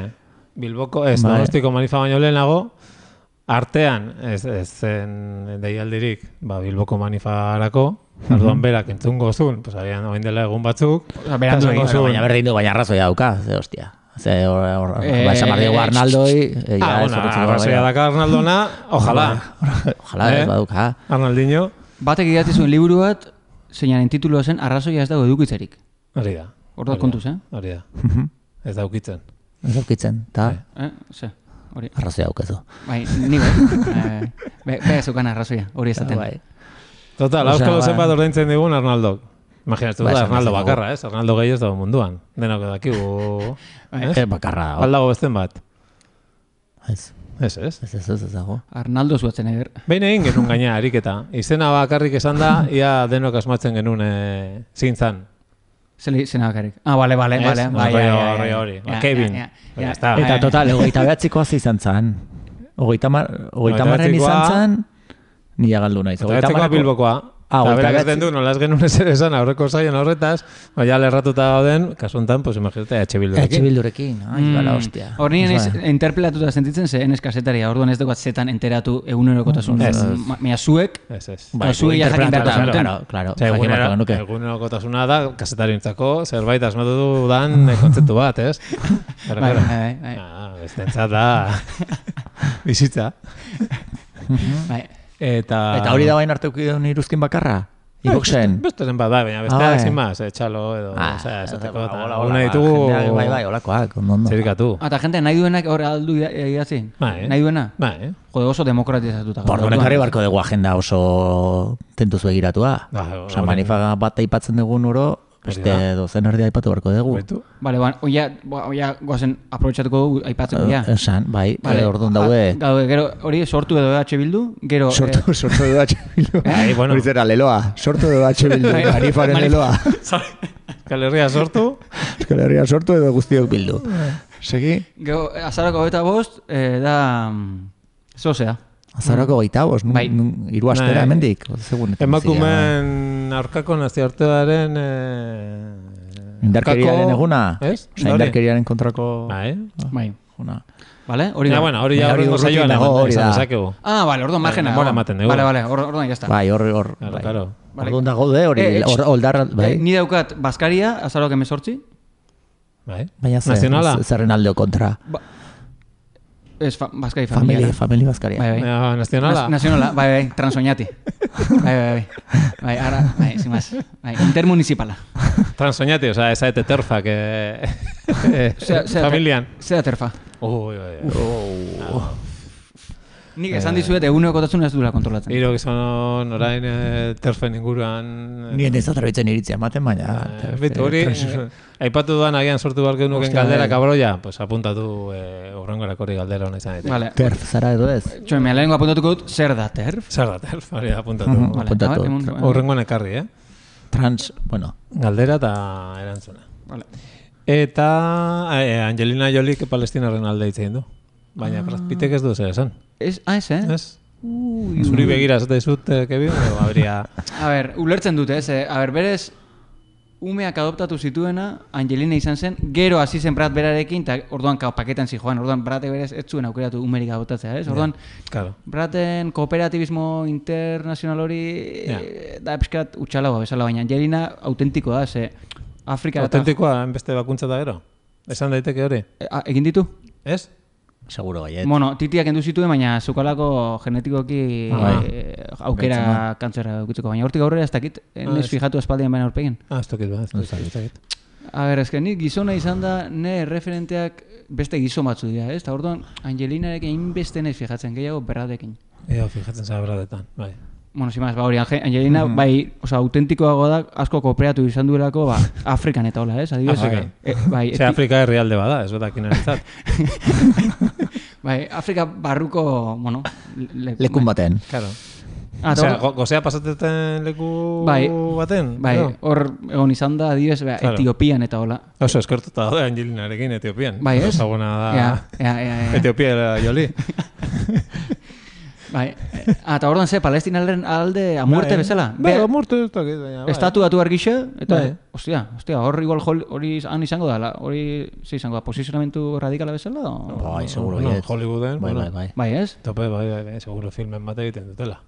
E: Bilboko, ez,
D: Bai.
E: donostiko manifa baino lehenago, artean, ez, ez zen deialdirik, ba, Bilboko manifarako,
D: Mhm.
E: arduan berak entzungo zuen, pues, agian, hauen dela egun batzuk,
C: Osa, berandu
E: eta
C: egin
E: esango
D: Bueno,
E: zuen,
D: baina berdin du, baina arrazoia dauka, ze hostia. Ze hor, hor,
C: Eh,
D: ba, esan behar diogu
C: eh,
D: Arnaldoi... eh, ja,
E: Ah,
D: ez
E: bueno,
D: horretzeko,
E: arrazoia
D: baina-
E: daka Arnaldona,
D: [LAUGHS]
E: ojalá.
D: Ojalá,
E: Eh?
D: ez baduka.
E: Arnaldinho,
C: Batek idatzi zuen liburu bat, zeinaren titulua zen arrazoia ez dago edukitzerik.
E: hori da.
C: Ordu
E: Hori da,
C: kontuz, eh?
E: Hori da. Ez da ukitzen.
D: Ez aukitzen, eta
C: Eh? Ose, hori.
D: arrazoia daukazu.
C: Bai, ni
E: [LAUGHS]
C: bai. eh, be, be zeukan arrazoia, hori esaten.
E: Ah,
D: Bai.
E: Total,
D: Osea,
E: auskalo
D: ba-
E: zenbat ordaintzen digun Arnaldok. Imaginatu
D: Ba,
E: da,
D: esan
E: Arnaldo
D: bezala.
E: bakarra, ez? Arnaldo gehi ez dago munduan. Denok
D: [LAUGHS]
E: dakigu...
C: Bai.
D: Eh, bakarra dago.
E: Aldago besten bat.
D: Ez,
E: Ez, ez?
D: ez, ez, ez, ez dago.
C: Arnaldo zuatzen eger.
E: Behin egin genuen gaina ariketa. Izena bakarrik esan da, ia denok asmatzen genuen e, zein zan.
C: Zeli zena bakarrik. Ah, bale, bale,
E: Ez?
C: bale.
E: No,
C: Bai,
E: rollo-
C: ja, ja, ja,
E: rollo
C: ja.
E: hori.
C: Ja,
E: Ba,
C: ja,
E: Kevin.
C: ja,
E: Ba,
C: ja.
E: ya está.
D: Eta
C: Eh,
D: total, hogeita behatzikoa izan zan. Hogeita, mar, hogeita marren izan
E: Hogeita
D: zan, nila galdu naiz.
E: Eta hartzekoa
D: marreko-
E: Bilbokoa.
D: Ah,
E: Eta
D: hogeita
E: berak
D: bederatzi-
E: esaten du, nola ez genuen ezer esan aurreko zaion horretaz, baina lerratuta gauden, kasu honetan, pues imaginatea etxe
D: Etxe
E: bildu.
D: bildurekin, ai, bala, hostia.
C: Hor Mm. nien
D: Ez, bai.
C: ez- interpelatuta sentitzen ze enez kasetaria, orduan ez dugu zetan enteratu egunerokotasun. Mm.
E: Ez.
C: Ma- Mea zuek,
E: Ez, ez.
D: Bai,
C: zuei
D: gu
C: jakin behar
D: interpretatu,
C: duten.
D: Claro, claro.
E: Osea,
D: jakin beharko
E: egunero,
D: genuke.
E: egunerokotasuna da, kasetarintzako zerbait asmatu
D: [LAUGHS]
E: dudan eh, kontzeptu bat, ez? Pero,
C: Bai,
E: claro,
C: bai, bai.
E: ah, bestentzat da
D: [LAUGHS]
E: bizitza.
C: bai.
E: Eta,
D: Eta hori da bain arte ukidun iruzkin bakarra? Iboxen?
E: Beste zen bat, bai, baina beste
D: Ah,
E: ah,
D: bai.
E: ezin maz, etxalo edo, ah, osea, esateko,
D: ba,
E: eta
D: hola, hola,
E: eguna
D: jendeak, Bai, bai,
E: ditugu
D: olakoak, ondo, ondo.
E: zerikatu.
C: Ah, Eta jente nahi duenak hor aldu ida- idatzi?
E: Bai, eh.
C: Nahi duena?
E: Bai, eh?
C: Jode oso demokratizatuta.
D: Por
C: Orduan.
D: honek harri barko dugu agenda oso tentuz begiratua.
E: Ba,
D: Osa,
E: hori.
D: manifa bat aipatzen dugun oro, beste
E: da.
D: dozen erdi aipatu barko dugu.
E: Baitu.
C: Bale, ba, oia, ba, oia goazen aprobetsatuko dugu aipatzeko ja.
D: Eh, Esan, bai,
C: Vale.
D: vale. orduan
C: Ah,
D: daude.
C: Gaude, gero hori sortu edo EH Bildu, gero...
B: Sortu, sortu du H. Bildu.
E: Ai, bueno. [LAUGHS]
B: Hori zera, leloa. Sortu du H. Bildu.
C: Bai.
B: Manifaren
C: Manif-
B: leloa.
E: Euskal Herria sortu,
D: [LAUGHS]
B: Euskal Herria sortu edo guztiok bildu.
E: Ah.
B: Segi?
C: Eh, gero, eh, azaroko eta bost, eh, da... mm, Zozea.
D: Azarako gaita boz, nun,
C: Bai.
D: nun, iru astera
E: Bai.
D: hemendik. Segun, eta bai.
E: emakumen aurkako nazioartearen... Eh,
D: Indarkeriaren
E: aurkako-
D: eguna.
E: Ez?
D: Osea, Indarkeriaren kontrako
E: Bai.
D: Ah.
C: Bai.
D: eguna.
C: Vale, hori
E: Ja,
C: da.
E: Ah, bueno, hori ja
D: Baina hori
E: horrengo
D: urruti
E: saioan
D: dago,
E: eman-
D: hori
E: izan
D: da.
E: dezakegu.
C: Ah, vale, orduan margena.
E: Denbora
C: dago.
E: ematen dugu.
C: Vale, vale, or- orduan jazta.
D: Bai, hor, hor,
E: Claro,
D: bai.
E: claro.
D: Orduan daude hori,
C: Eh, eh,
D: hor, oldar, bai.
C: Eh, ni daukat, Baskaria, azarok emezortzi.
E: Bai.
D: Baina zer,
E: Nazionala?
D: zerren aldeo kontra.
C: Ba... Ez, fa, Baskari
B: Familia,
C: familia.
B: familia bazkaria.
C: Bai, bai.
E: Eh, nazionala?
C: Naz- Nazionala, bai, bai, transoñati. Bai, bai, bai. Bai, ara, bai, sin más. Bai, intermunicipala.
E: Transoñati, oza, ez zaete terfak
C: [LAUGHS]
E: eh,
C: Zea- zea-
E: familian.
C: Zea terfa.
E: Ui, ui, ui.
C: Nik esan dizuet, eguneko tasun ez duela kontrolatzen.
E: Hiru gizonon orain eh, terfen inguruan...
B: Nien ez atrebitzen iritzia ematen, baina...
E: Eh, Bitu hori, eh, aipatu duan agian sortu beharko nuken
B: Ostia,
E: galdera
B: bai.
E: kabroia, pues apuntatu eh, urrengorako hori galdera hona izan ditu.
C: Vale.
B: Terf zara edo ez?
C: Txoen, mea lehenko apuntatuko dut, zer da terf?
E: Zer da, terf, hori apuntatu.
C: Vale,
B: apuntatu.
C: ah, emun-
E: Urrengoan ekarri, eh?
B: Trans, bueno,
E: Galdera eta erantzuna.
C: Vale.
E: Eta eh, Angelina Jolik palestinarren alde hitz egin du. Baina Brad Pittek ez du zer esan.
C: Ez, ah, ez, Ah. eh?
E: Ez? Zuri begira ez dezut, eh, Kevin, edo habría...
C: A ber, ulertzen dute, ez? eh? A ber, berez, umeak adoptatu zituena, Angelina izan zen, gero hasi zen Brad berarekin, eta orduan ka- paketan zi joan, orduan Brate berez ez zuen aukeratu umerik adoptatzea, ez? Orduan,
E: Claro.
C: Braten kooperatibismo internazional hori
E: Ja.
C: eh, da pixkat utxalagoa bezala, baina Angelina autentikoa da, ze Afrika
E: Autentikoa, beste bakuntza da gero. Esan daiteke hori.
C: Eh, egin ditu?
E: Ez?
D: Seguro
B: bai, eh.
D: baiet.
C: Bueno, titiak endu zituen, baina zukalako genetikoki
E: Ah.
C: eh, aukera kantzera dukitzeko, baina hortik aurrera ez dakit, eh,
E: Ah,
C: naiz
E: ez.
C: fijatu espaldien baina aurpegin.
E: Ah, ez tokit bat, ez tokit, ez tokit.
C: A ber, ezken nik gizona izan da, ne referenteak beste gizon batzu dira, ez? Ta orduan, Angelinarekin inbeste naiz fijatzen, gehiago berradekin.
E: Eo, fijatzen zara bradetan, bai.
C: Bueno, sin más, ba, hori, Ange- Angelina,
E: Mhm.
C: bai, oza, autentikoago da, asko kooperatu izan duelako, ba, Afrikan eta hola, ez? Adibidez,
E: Ah, bai.
C: eh,
E: [LAUGHS]
C: bai,
E: Ze
C: eti-
E: Afrika herrialde bada, ez betak
C: [LAUGHS]
E: inarentzat.
C: bai, Afrika barruko, bueno, le,
B: lekun
C: bai.
B: baten.
E: Claro.
C: Ah, eta
E: Osea,
C: hor-
E: go- gozea pasatzen leku
C: Bai.
E: baten.
C: bai,
E: edo?
C: hor egon izan da, adibidez, ba,
E: Claro.
C: Etiopian eta hola.
E: Oso eskertuta daude Angelinarekin Etiopian.
C: Bai, ez? Eh.
E: Ezaguna da. [LAUGHS]
C: Ea, ea, ea, ea.
E: Etiopia joli.
C: [LAUGHS] Bai, eh, ah, eta orduan ze, palestinaren alde
B: Ba,
C: a muerte bezala.
E: Bai,
C: Bea-
E: a muerte ez dakit, baina. bai.
C: Estatu datu argixe, eta,
E: Bai.
C: ostia, ostia, hor igual jol- hori han izango da, hori, ze izango da, posizionamentu radikala bezala? O...
D: Bai, seguro
E: Bueno,
B: eh.
D: baiet.
E: Hollywooden,
D: Bai,
E: bueno.
D: bai, bai.
C: Bai, ez?
E: Tope, bai, bai, bai, seguro filmen bat egiten dutela.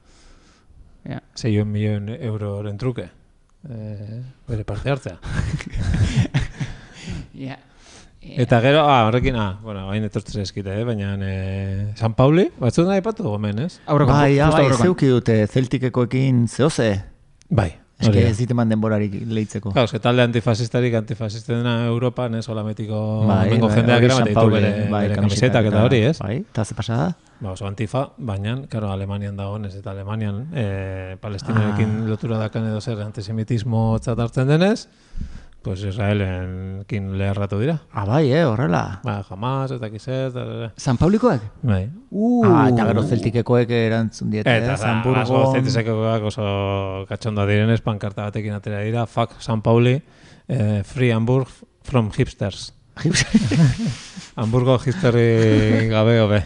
C: Ja.
E: 6 milion euroren truke. Eh, bere parte
C: [LAUGHS]
E: hartzea.
C: Ja.
E: Eta gero, ah, horrekin, ah, bueno, hain etortzen eskite, eh? baina eh, San Pauli, batzuen da aipatu gomen, ez?
C: Aurreko,
B: Bai, ja,
C: justo
B: bai,
C: aurrekoan.
B: zeuki dute zeltikekoekin zehoze.
E: Bai,
B: Ez que ez diteman denborarik lehitzeko.
E: Claro, es que talde antifasistarik antifasistena Europan, ez, olametiko
B: Bai,
E: mengo
B: bai,
E: jendeak
B: hori
E: eraman
B: San
E: ditu
B: Pauli,
E: bere,
B: bai,
E: bere
B: kamisetak
E: kamisetak eta hori, ez?
B: Bai, eta ze pasada?
E: Ba, oso antifa, baina, claro, Alemanian dagoenez, eta Alemanian eh,
D: Ah.
E: palestinarekin lotura dakan edo zer antisemitismo hartzen denez, pues Israelenkin leherratu dira.
B: Ah, bai, eh, horrela.
E: Ba, jamás, eta kizet, da, da, da.
C: San Paulikoak?
E: Bai.
C: Uh,
B: Ah, eta gero zeltikekoek erantzun diete,
E: Eta, ba,
B: eh,
E: da, asko
B: Hamburgon.
E: zetizekoak oso katxonda direnez, pankarta batekin atera dira, fuck San Pauli, eh, free Hamburg from
D: [LAUGHS]
E: hipsters. Hamburgo hipsterri gabe hobe.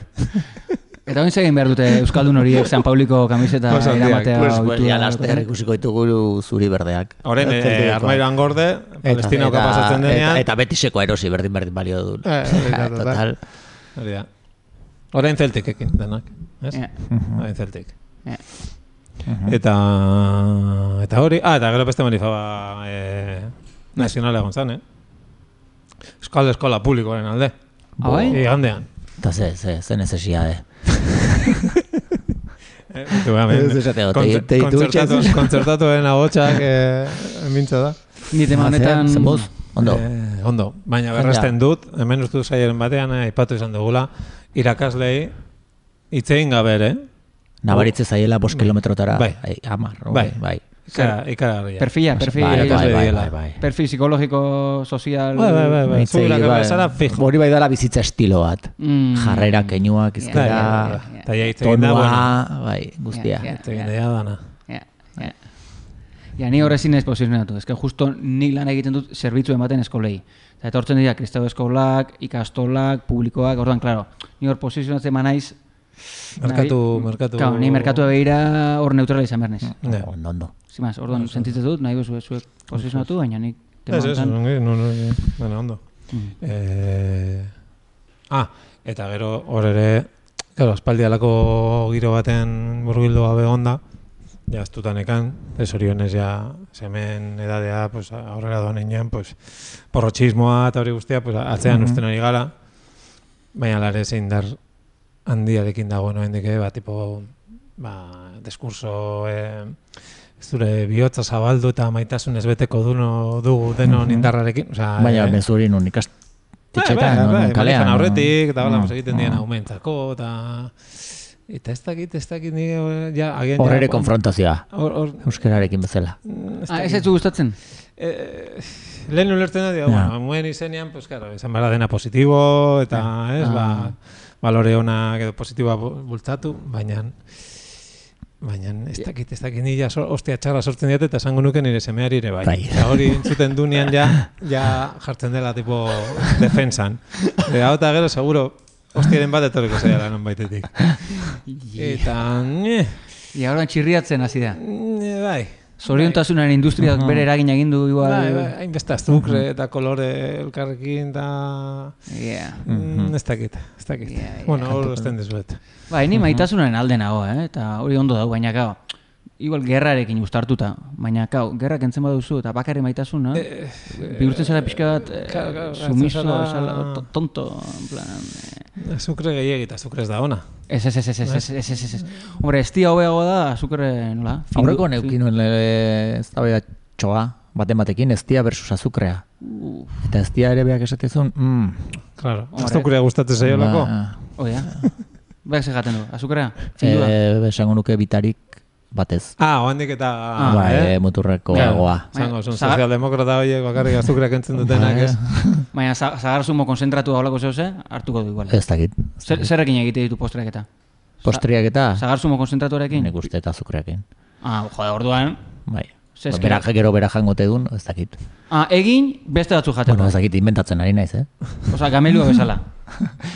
C: eta hori egin behar dute Euskaldun horiek San Pauliko kamiseta
E: Oso handiak.
C: eramatea.
E: Pues,
C: ohitura
D: Ja, laster
C: daukate.
D: ikusiko ditugu zuri berdeak.
E: Horren, eh,
D: Zeltikekoak.
E: armairuan gorde, palestinoka
D: Eta-
E: pasatzen denean.
D: Eta, eta betiseko erosi berdin berdin balio du.
E: Eh, hori da,
D: [LAUGHS]
E: total.
D: Total.
E: Hori da. Orain zeltik ekin denak. Ez?
C: Ja.
E: Orain zeltik.
C: Ja.
D: Mhm.
E: Eta, eta hori, ah, eta gero beste manifaba eh, nazionala egon zan, eh? Euskal Eskola Publikoaren alde.
C: Ah, bai?
E: Igandean.
D: Eta ze, ze, ze necesidade.
E: [LAUGHS] Eh, beti behar, men-
D: Ez esatea, te-
E: kontzer-
D: te ditu
E: kontzertatu-
D: [LAUGHS] itxas.
E: Kontzertatuen ahotsak eh, mintza da.
C: Ni tema honetan...
D: Zemuz, ondo.
E: Ah, Eh, ondo, baina berresten dut, hemen ustu saiaren batean eh, aipatu izan dugula, irakaslei itzein gabe ere,
D: Nabaritze zaiela bost kilometrotara.
E: Bai.
D: Ai, Amar,
E: Bai.
D: bai. bai.
E: ikara, ikaragarria.
C: Perfila, perfil,
D: Bai, bai, bai,
E: diela.
D: bai, bai.
C: perfil psikologiko, sozial...
E: Bai, bai, bai, bai.
D: Hitz egin,
E: Zugurak
D: bai.
E: bezala fijo.
D: Hori bai dela bizitza estilo bat.
C: Mm.
D: Jarrera, keinuak,
E: Bai,
D: izkera,
E: bai, bai.
C: Ja.
E: Eta ja hitz egin da,
D: tonua,
E: bueno,
D: bai, guztia.
C: Ja, ja.
E: hitz egin da dana.
C: Ja, ja. Bai. Ja, ni horrezin ez posizionatu. Ez que justo nik lan egiten dut zerbitzu ematen eskolei. Eta etortzen dira, kristau eskolak, ikastolak, publikoak, orduan, klaro, ni hor posizionatzen ma naiz...
E: Merkatu- merkatu-
C: Bai. Claro, ni merkatu behira hor neutrala izan behar naiz.
E: Ja.
D: Ondo, ondo.
C: Sin más, orduan, sentitzen dut, nahi bezu zuek posizionatu, baina nik...
E: Ez, ez,
C: temantan-
E: ongi, no, no, eh, bueno, ondo.
C: Mm.
E: Eh, ah, eta gero hor ere, claro, espaldialako giro baten burbildu gabe onda, ja astutan ekan, ez orionez ja, semen edadea, pues, aurrera doan inean, pues,
C: Mm-hmm.
E: porrotxismoa eta hori guztia, pues, atzean usten hori gara, baina lare zein dar handiarekin dagoen oraindik eh, ba tipo ba diskurso eh, zure bihotza zabaldu eta maitasunez beteko duno dugu denon indarrarekin, osea
D: Mhm. Baina,
E: eh,
D: mezu hori nun ikast...
E: Bai,
D: Txetxetan,
E: bai,
D: non,
E: bai,
D: kalean,
E: manifan
D: non. Mm.
E: aurretik, eta hola,
D: No,
E: pues, egiten dien
D: no.
E: aumentzako, eta... Eta ez dakit, ez dakit, ni, eh, ja, agian...
D: Hor
E: ja,
D: ere
E: hor-
D: konfrontazioa,
E: Hor, hor,
D: euskararekin bezala.
E: ez
C: Ah, ez
E: dakit.
C: ez gustatzen?
E: Eh, lehen ulertzen dut, ja. bueno, muen izenean, pues, claro, izan behar da dena positibo, eta, ez, ba, balore ona, edo positiboa bu- bultzatu, baina, baina, ez dakit, ez dakit, nila, so, ostia txarra sortzen diat, eta esango nuke nire semeari ere, bai.
D: Bai.
E: Eta hori entzuten dunean, ja, ja jartzen dela, [LAUGHS] tipo, defensan. De, hau eta gero, seguro, hostiaren bat etorriko zaiala non baitetik. Eta, ne,
C: Ia orain txirriatzen hasi da.
E: ne, bai,
C: Zoriontasunaren industriak bere eragin egin du igual.
E: Bai, bai, hainbeste azukre eta kolore elkarrekin eta...
C: Yeah.
E: Mm, ez dakit, ez dakit.
C: Ja, ja.
E: Bueno, hor usten dizuet.
C: Bai, ni maitasunaren alde nago, eh? eta hori ondo dago, baina gau, igual gerrarekin ustartuta, baina gau, gerrak entzen baduzu eta bakarri maitasuna, bihurtzen zara pixka bat, eh,
E: claro, claro, hartzen
C: sumiso,
E: zara-
C: zara... tonto, en plan... eh,
E: Azukre gehiagit, azukre ez da ona.
C: Ez, ez, ez, ez, ez, ez, ez, ez, ez. Hombre, estia hobeago da, azukre, nola? Findu-
D: Aurreko
C: fin-
D: neukin nuen lege ez da bera txoa, baten batekin eztia versus azukrea. Eta eztia ere behak esatezun, mm,
E: Claro,
C: Hombre.
E: azukre gustatzen zaiolako.
D: ba, [LAUGHS]
C: Oia. Bai, ze jaten du, azukrea, findua.
D: e, esango nuke bitarik batez.
E: Ah, oandik eta...
D: Ah, ba,
E: eh?
D: e, muturreko
E: Claro,
D: goa.
E: Zango, zun
C: Zagar-
E: sozialdemokrata horiek bakarrik azukreak entzen dutenak, ez?
C: Baina, za- zagar sumo konzentratu hablako zehose, eh? hartuko du igual.
D: Ez dakit.
C: Zer, zerrekin egite ditu postreak eta?
D: Postriak eta,
C: Zagar sumo konzentratuarekin?
D: nik uste eta azukreakin.
C: Ah, jode, orduan.
D: Bai.
C: Ze esker-
D: Berak gero berak jangote dun, ez dakit.
C: Ah, egin, beste batzu jateko.
D: Bueno, ez dakit inventatzen ari naiz, eh?
C: Osa, gamelua
D: [LAUGHS]
C: bezala.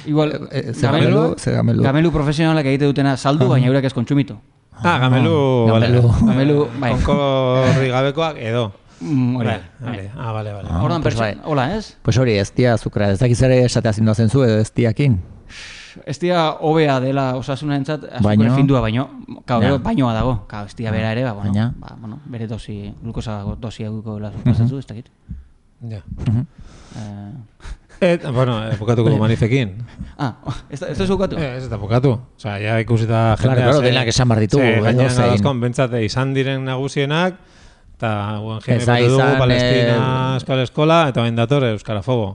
C: Igual,
D: E, ze gamelu, ze gamelu.
C: gamelu profesionalak egite dutena saldu, baina eurek ez kontsumitu.
E: Ah, gamelu...
D: Gamelu.
E: vale.
C: Gamelu, bai.
E: Konkorri gabekoak edo.
C: Mm, hori.
E: Vale, vale. Ah, vale, vale.
C: Orduan,
D: pues
C: pertsen,
D: bai.
C: hola, ez?
D: Pues hori, eztia azukrea, ez dakit ere esatea zinduazen zu, edo eztiakin.
C: Ez dira hobea dela osasunarentzat azukre
D: Baino.
C: findua baino, kao,
D: Ja.
C: gero bainoa dago, kao, ez dira bera ere, ba, bueno,
D: Baina.
C: ba, bueno, bere dosi, glukosa dosi eguko dela sustatzen du, ez dakit.
E: Ja.
C: Eh,
E: Et, bueno, eh, bukatuko du manifekin.
C: ah, [LAUGHS] ez da, ez da zukatu?
E: Eh, ez eta bukatu. Osa, ja ikusita
D: Claro, claro, denak esan behar ditugu, edo
E: Gainean
D: zein.
E: adazkon, bentsate, izan diren nagusienak, eta guen
D: Ez
E: jeme
D: da
E: dugu,
D: izan,
E: Palestina,
D: eh,
E: Euskal Eskola, eta bain dator, Euskarafobo.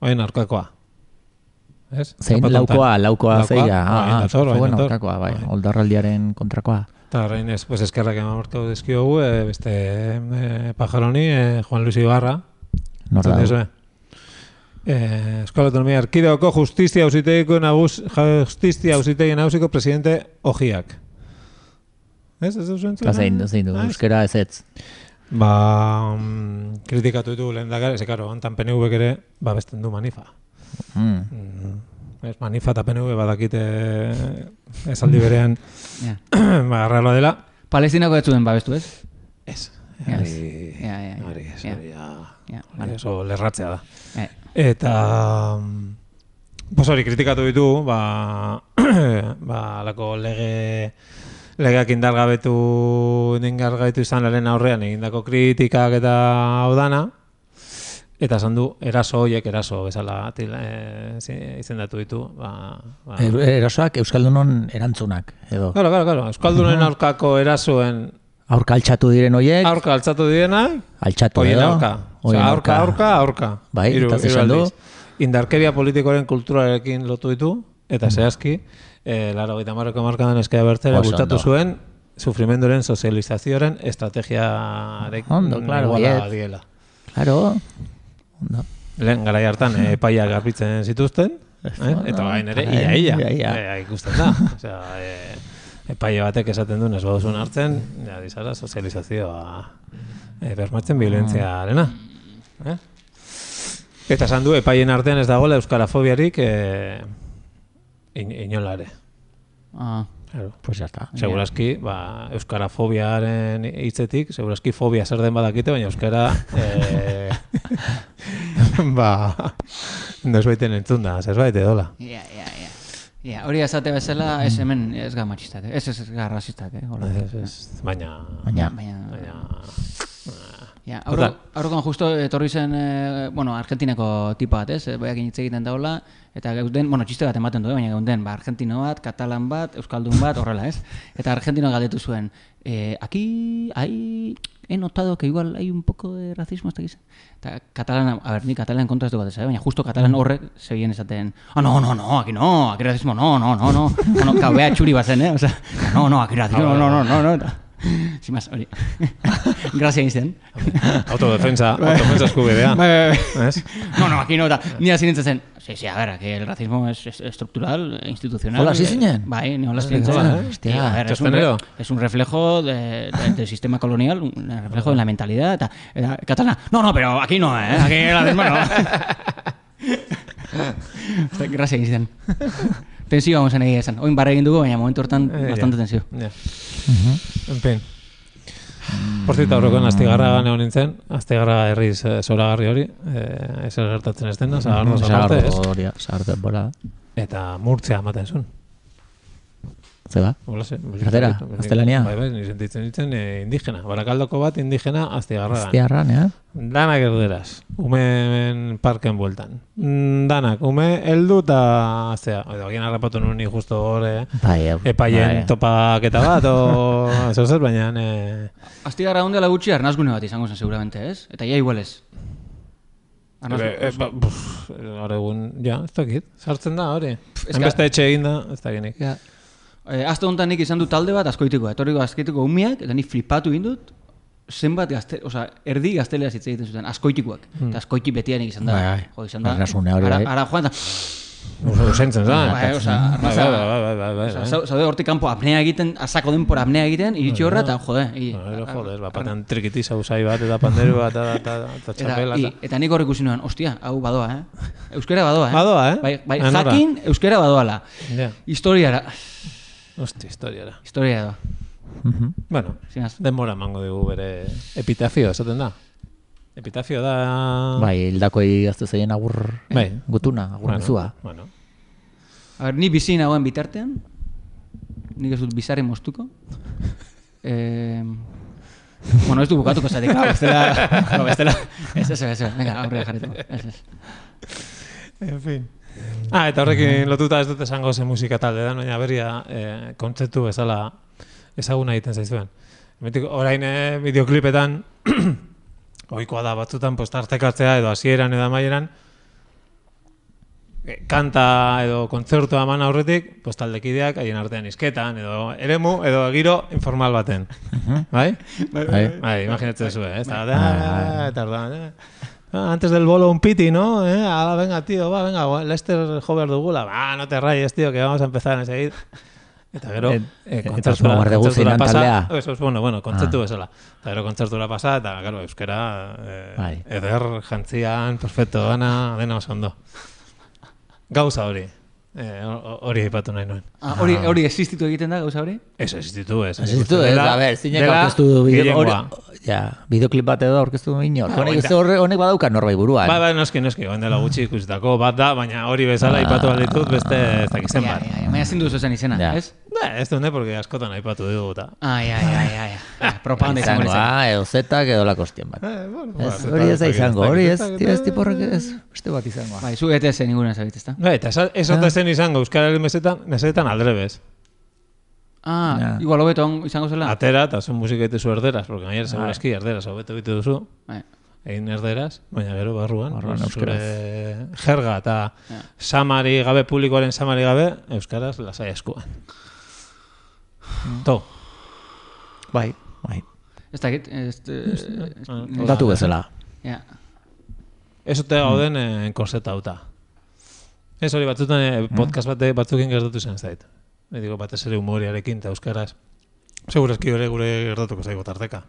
E: Oien aurkakoa. Ez?
D: Zein
E: Zapatu
D: laukoa,
E: honetan.
D: laukoa zeia.
E: Orain
D: Ah, ah,
E: dator, orain
D: bueno,
E: dator.
D: kontrakoa, bai. Oldarraldiaren kontrakoa.
E: Eta horrein ez, pues eskerrak eman marko dizkiogu, eh, beste eh, pajaroni, eh, Juan Luis Ibarra.
D: Nor da.
E: Entzun dizue. Eh, Euskal Autonomia Erkidegoko Justizia Auzitegiko nagus, Justizia Auzitegi Nagusiko presidente Ojiak. Ez, ez duzu entzun?
D: Eta zein, zein du,
E: Ah, ez.
D: euskera ez ez.
E: Ba, mm, kritikatu ditu lehen dakar, ze karo, hontan PNV ere, ba, besten du manifa.
D: Mm.
E: Ez, manifa eta PNV badakite esaldi berean, [COUGHS]
C: Ja.
E: ba, arraloa dela.
C: Palestinako ez zuen babestu, ez?
E: Ez,
C: Ja, ez.
E: hori,
C: Ja, ja, ja.
E: hori, ez,
C: Ja.
E: hori, ja,
C: Ja,
E: hori, oso lerratzea da.
C: Eh,
E: Eta... mm, Pues hori, kritikatu ditu, ba, [CLEARS THROAT] ba lako lege, legeak indargabetu, indargabetu izan laren aurrean egindako kritikak eta hau dana, eta esan du, eraso hoiek eraso bezala til- eh, zi- izendatu ditu. Ba, ba. Ah.
D: Er, erasoak euskaldunon erantzunak, edo.
E: Claro, claro, claro. Euskaldunen aurkako erasoen
D: Aurka altxatu diren hoiek,
E: aurka altzatu dienak,
D: altxatu
E: Hoien
D: edo.
E: aurka. Osea,
D: Hoien
E: aurka, aurka, aurka.
D: Bai, eta zer esan du?
E: aldiz. Indarkeria politikoaren kulturarekin lotu ditu, eta zehazki, eh, laro gaita marroko markadan eskea bertzera
D: Oso
E: bultatu
D: ondo.
E: zuen, sufrimenduren sozializazioaren estrategiarekin
D: Ondo, claro,
E: iguala
D: baiet.
E: diela.
D: Claro. Ondo.
E: Lehen garai hartan eh, epaia garbitzen zituzten, eh? eta bain ere, ia, ia,
D: Ia, ia.
E: Eh, ikusten da. Osea, eh, epaile batek esaten duen ez baduzun hartzen, ja, dizara sozializazioa eh, bermatzen biolentziarena. Eh? Eta esan du, epaien artean ez dagoela euskarafobiarik eh, in, inola ere.
C: ah,
E: Claro.
D: Pues ya está.
E: Segurazki, ba, euskarafobiaren hitzetik, segurazki fobia zer den badakite, baina euskara eh, [LAUGHS] ba, desbaiten entzun da, zerbait edola.
C: ja, ja, ja. Ja, hori esate bezala, ez hemen ez ga matxistak,
E: Bai.
C: eh? ez ez ga rasistak, eh? Hola,
E: Ez, ez, Baina,
D: Baina,
C: Baina,
E: baina,
C: Ja, aurro,
E: Total.
C: aurrokoan justo etorri zen, e, bueno, Argentinako tipa bat, ez? Baiak hitz egiten daula, eta gauden, bueno, txiste bat ematen du, eh, baina gauden, ba, Argentino bat, Katalan bat, Euskaldun bat, horrela, ez? Eta Argentino galdetu zuen, eh, aquí hay, he notado que igual hay un poco de racismo, ez dakiz? Eta Katalan, a ver, ni Katalan kontra ez dugu ez, eh? baina justo Katalan horrek segien esaten, ah, no, no, no, aquí no, aquí racismo, no, no, no, no, bueno, kabea txuri bazen, eh? Osa, no, no, aquí racismo, no, no, no, no, no, no. Sin más, hori. Grazia izan.
E: [LAUGHS] Autodefensa, autodefensa eskubidea.
C: Bai, bai, bai.
E: Ez?
C: [LAUGHS] No, no, aquí no da. Ni hasi nintzen zen. Sí, sí, a ver, que el racismo es, es estructural, eh, institucional.
D: Hola, hasi
C: eh,
D: zinen?
C: Bai, ni hola hasi
E: Hola, eh?
C: nintzen.
D: Hostia,
C: Y, a ver, es un, re-
E: txostenero.
C: es un reflejo de- de- del sistema colonial, un reflejo de la mentalidad. Eta, eta catalana, no, no, pero aquí no, eh? Aquí el racismo no. Oste, Gracias, izan. Tensio vamos egia esan. Oin barra egin dugu, baina momentu hortan
E: Eh,
C: bastante
E: ja.
C: tensio.
E: Ja.
D: Mhm.
E: En fin. Por cierto, aurrokoan Astigarraga egon nintzen, Astigarraga herriz eh, zoragarri hori, eh, ez gertatzen ez dena,
D: Mm,
E: zagarroz aparte, ez?
D: Zagardo, bola.
E: Eta murtzea ematen zuen.
D: Zeba?
E: Hola, ze.
D: Gaztera, gaztelania.
E: Bai, bai, ni sentitzen nintzen eh, indigena. Barakaldoko bat indigena Astigarragan.
D: Aztiarran, eh?
E: Danak erderaz, umen parken bueltan. Mm, Danak, ume heldu eta aztea. Oida, gian harrapatu nuen ni justo hor, eh,
D: Bai, hau.
E: epaien topaketa
D: [LAUGHS]
E: bat, o zer zer, baina... eh,
C: Astigarra ondela gutxi arnazgune bat izango zen seguramente, ez? Eta ia igual ez. Arnaz-
E: eh, eh, ba, pff, Gaur egun, ja, ez dakit, sartzen da hori.
C: eska-
E: Hainbeste etxe egin da, ez dakinik.
C: Ja. E, aste honetan nik izan dut talde bat askoitiko, etorriko askoitiko umiak, eta nik flipatu egin dut, zenbat gazte, oza, erdi gaztelera hitz egiten zuten, askoitikoak.
E: Hmm.
C: Eta askoiti betian izan da.
D: Bai, bai.
C: Jo, izan da.
D: Arnasunea hori,
C: ara,
D: bai.
C: ara joan da.
E: Usaintzen da.
C: Bai, oza,
E: Bai,
C: arnaza.
E: bai, bai, bai, bai, bai,
C: oza,
E: bai.
C: zau- Zaude hortik kanpo apnea egiten, azako denpor apnea egiten, iritsi horra, eta jode. i-
E: Ba, gero, Joder, ba, patan trikitiza usai bat, eta panderu bat, eta- eta eta
C: Eta,
E: txapela,
C: i,
E: eta...
C: eta nik hor ikusi nuen, ostia, hau badoa, eh? Euskara badoa, eh?
E: Badoa, eh?
C: Bai, bai
E: Anora.
C: jakin, euskara badoala.
E: Ja,
C: Historiara,
E: hosti, historiara.
C: historiara doa.
E: Bueno,
C: Zinaz.
E: Denbora emango dugu bere epitafio, esaten da. Epitafio da...
D: Bai, hildakoi gazte zeien agur
E: Ah. Bai.
D: gutuna, agur
E: Bueno,
D: mezua.
E: Bueno,
C: A ber, ni bizi nagoen bitartean, nik ez dut bizarre moztuko. Eh, bueno, ez du bukatuko [LAUGHS] zatik, claro, Ah, bestela, no, bestela, ez, ez, ez, ez, venga, aurrera [LAUGHS] jarretu, ez, ez.
E: en fin. Ah, eta horrekin lotuta ez dut esango ze musika talde da, baina berria eh, kontzeptu bezala ezaguna egiten zaizuen. Hemendik, orain eh, bideoklipetan, [CLEARS THROAT] ohikoa da batzutan postartekatzea edo hasieran edo amaieran, eh, kanta edo kontzertua eman aurretik, postaldekideak haien artean izketan, edo eremu, edo giro informal baten. Bai?
D: Bai.
E: Bai, imaginatzen zuen, eh? Eta, da, eta, orduan, eh, ah, antes del bolo un piti, ¿no? Eh, ala, venga, tío, va, venga, gua- Lester Hover dugula. Ah, no te rayes, tío, que vamos a empezar enseguida. Eta gero,
D: Et-
E: eh,
D: eta
E: kontzertura,
D: osmo guarde
E: kontzertura
D: guztien
E: pasa,
D: taldea. Ah.
E: eso es bueno, bueno, kontzertu bezala. Eta gero kontzertura pasa, eta, gero, euskera, eh,
D: Bai.
E: eder, jantzian, perfecto, dana, dena oso ondo. Gauza hori, eh, ho- hori aipatu nahi nuen.
C: Ah, hori, hori existitu egiten da, gauza hori?
E: Ez existitu, ez.
D: Zitu, ez,
E: Dela-
D: a ber, zinek
E: dela
D: aurkeztu du bide- hori-
E: gehiengoa.
D: Ja, bideoklip bat edo aurkeztu du inor.
E: Ah,
D: Honek,
E: oinda.
D: horre- honek badauka norbai buruan.
E: Bai, bai, noski, noski, oen dela gutxi ikusitako bat da, baina hori
D: Ah.
E: bezala aipatu alditut beste ez dakizen
C: Ja,
E: bat.
C: ja, ja, baina ezin duzu esan izena,
D: Ja.
C: ez?
E: Ba, ez dune, porque askotan aipatu dugu eta.
C: Ai, ai, ai, ai, ai,
E: ba,
C: propaganda izango
D: izango,
C: nintzen.
D: ah, edo zetak edo lako ostien bat.
E: Eh, bueno, ba,
D: Ez,
E: zeta-
D: hori ez da
E: zeta-
D: izango,
E: zeta-
D: hori ez,
E: zeta-
D: tira ez tiporrek ez, beste bat izango.
C: Bai, zu ETS ninguna zabit, ezta?
E: Bai, eta esa- ez
D: Ah.
E: ote zen izango, Euskararen mesetan, mesetan aldrebez.
C: Ah,
D: Ja.
C: igual hobeto on- izango zela?
E: Atera, eta zuen musika egitezu erderaz, porque
D: Bai.
E: gainera segurazki erderaz, hobeto egite duzu,
C: Bai.
E: egin erderaz, baina gero barruan,
D: Barruan
E: pues,
D: euskaraz.
E: zure jerga eta
C: Ja.
E: samari gabe, publikoaren samari gabe, euskaraz lasai eskuan. To.
D: Bai, bai.
C: Ez dakit, ez... eh, ez-
E: Ah,
D: Datu bezala.
C: Ja.
E: Ez ote gauden
D: Mm.
E: eh, korseta hauta. Ez hori batzutan eh, podcast bate, batzukin gertatu zen zait. Ni digo, batez ere humoriarekin eta euskaraz. Segurazki hori gure gertatuko zaigu tarteka.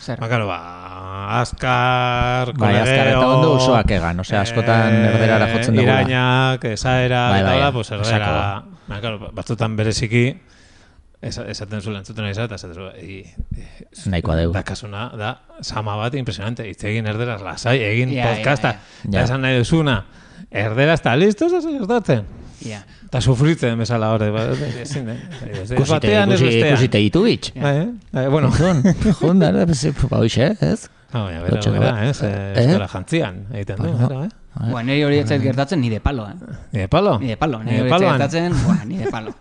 C: Zer.
E: Ba, karo, ba, Ah, azkar,
D: Bai, azkar eta
E: kolereo,
D: ondo usoak egan, osea, askotan erderara jotzen dugula.
E: Irainak, esaera,
D: Bai,
E: eta
D: bai,
E: hola, pues erdera.
D: esako.
E: Ba, karo, ba, batzutan bereziki, esa- esaten zuen entzuten ari zara, eta esaten zuen, "Ei, eh,
D: Nahikoa deu.
E: Dakasuna, da, sama bat, impresionante. Itz egin erderaz, lasai, egin
C: Ja, ja,
E: podcasta.
D: ja.
E: Eta
D: Ja.
E: esan nahi duzuna, erderaz eta listo, ez gertatzen.
C: Ja.
E: Eta sufritzen bezala hori,
D: [LAUGHS]
E: ba, ezin, eh? Ez
D: Kusite,
E: batean, ez
D: ikusi,
E: [LAUGHS] bestean.
D: ikusite ditu bitx.
E: Bai, eh? Bai, bueno,
D: Jun, jun, da, da, ba, hoxe, ez?
E: Ah, baina, bera,
D: Lotxatu
E: bera,
D: bat.
E: ez? Eh,
D: Eh?
E: Euskara jantzian, egiten du,
D: Bueno.
E: bera, eh?
C: Ba, niri hori etzait gertatzen ni de palo, eh?
E: Nire palo?
C: Ni de palo, niri
E: Nire
C: hori etzait
E: paloan?
C: gertatzen,
E: [LAUGHS]
C: ba, ni de palo.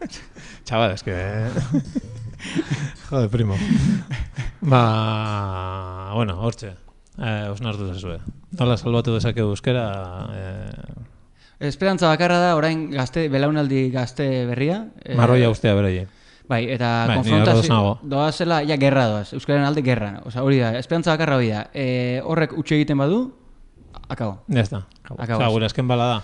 E: Chaval, es que...
C: [LAUGHS]
E: Jode, primo. Ba, bueno, hortxe. Eh, Osnartu zezue. Nola salbatu dezakegu euskera... Eh,
C: Esperantza bakarra da, orain gazte, belaunaldi gazte berria. eh,
E: marroia ustea beraie.
C: Bai, eta
E: Bai, ni ados nago.
C: konfrontazio doazela, ja, gerra doaz, Euskararen alde gerra. Osa, hori da, esperantza bakarra hori da. E, horrek utxe egiten badu, akabo.
E: Ya está.
C: Akabos.
E: Osa, gure azken bala da.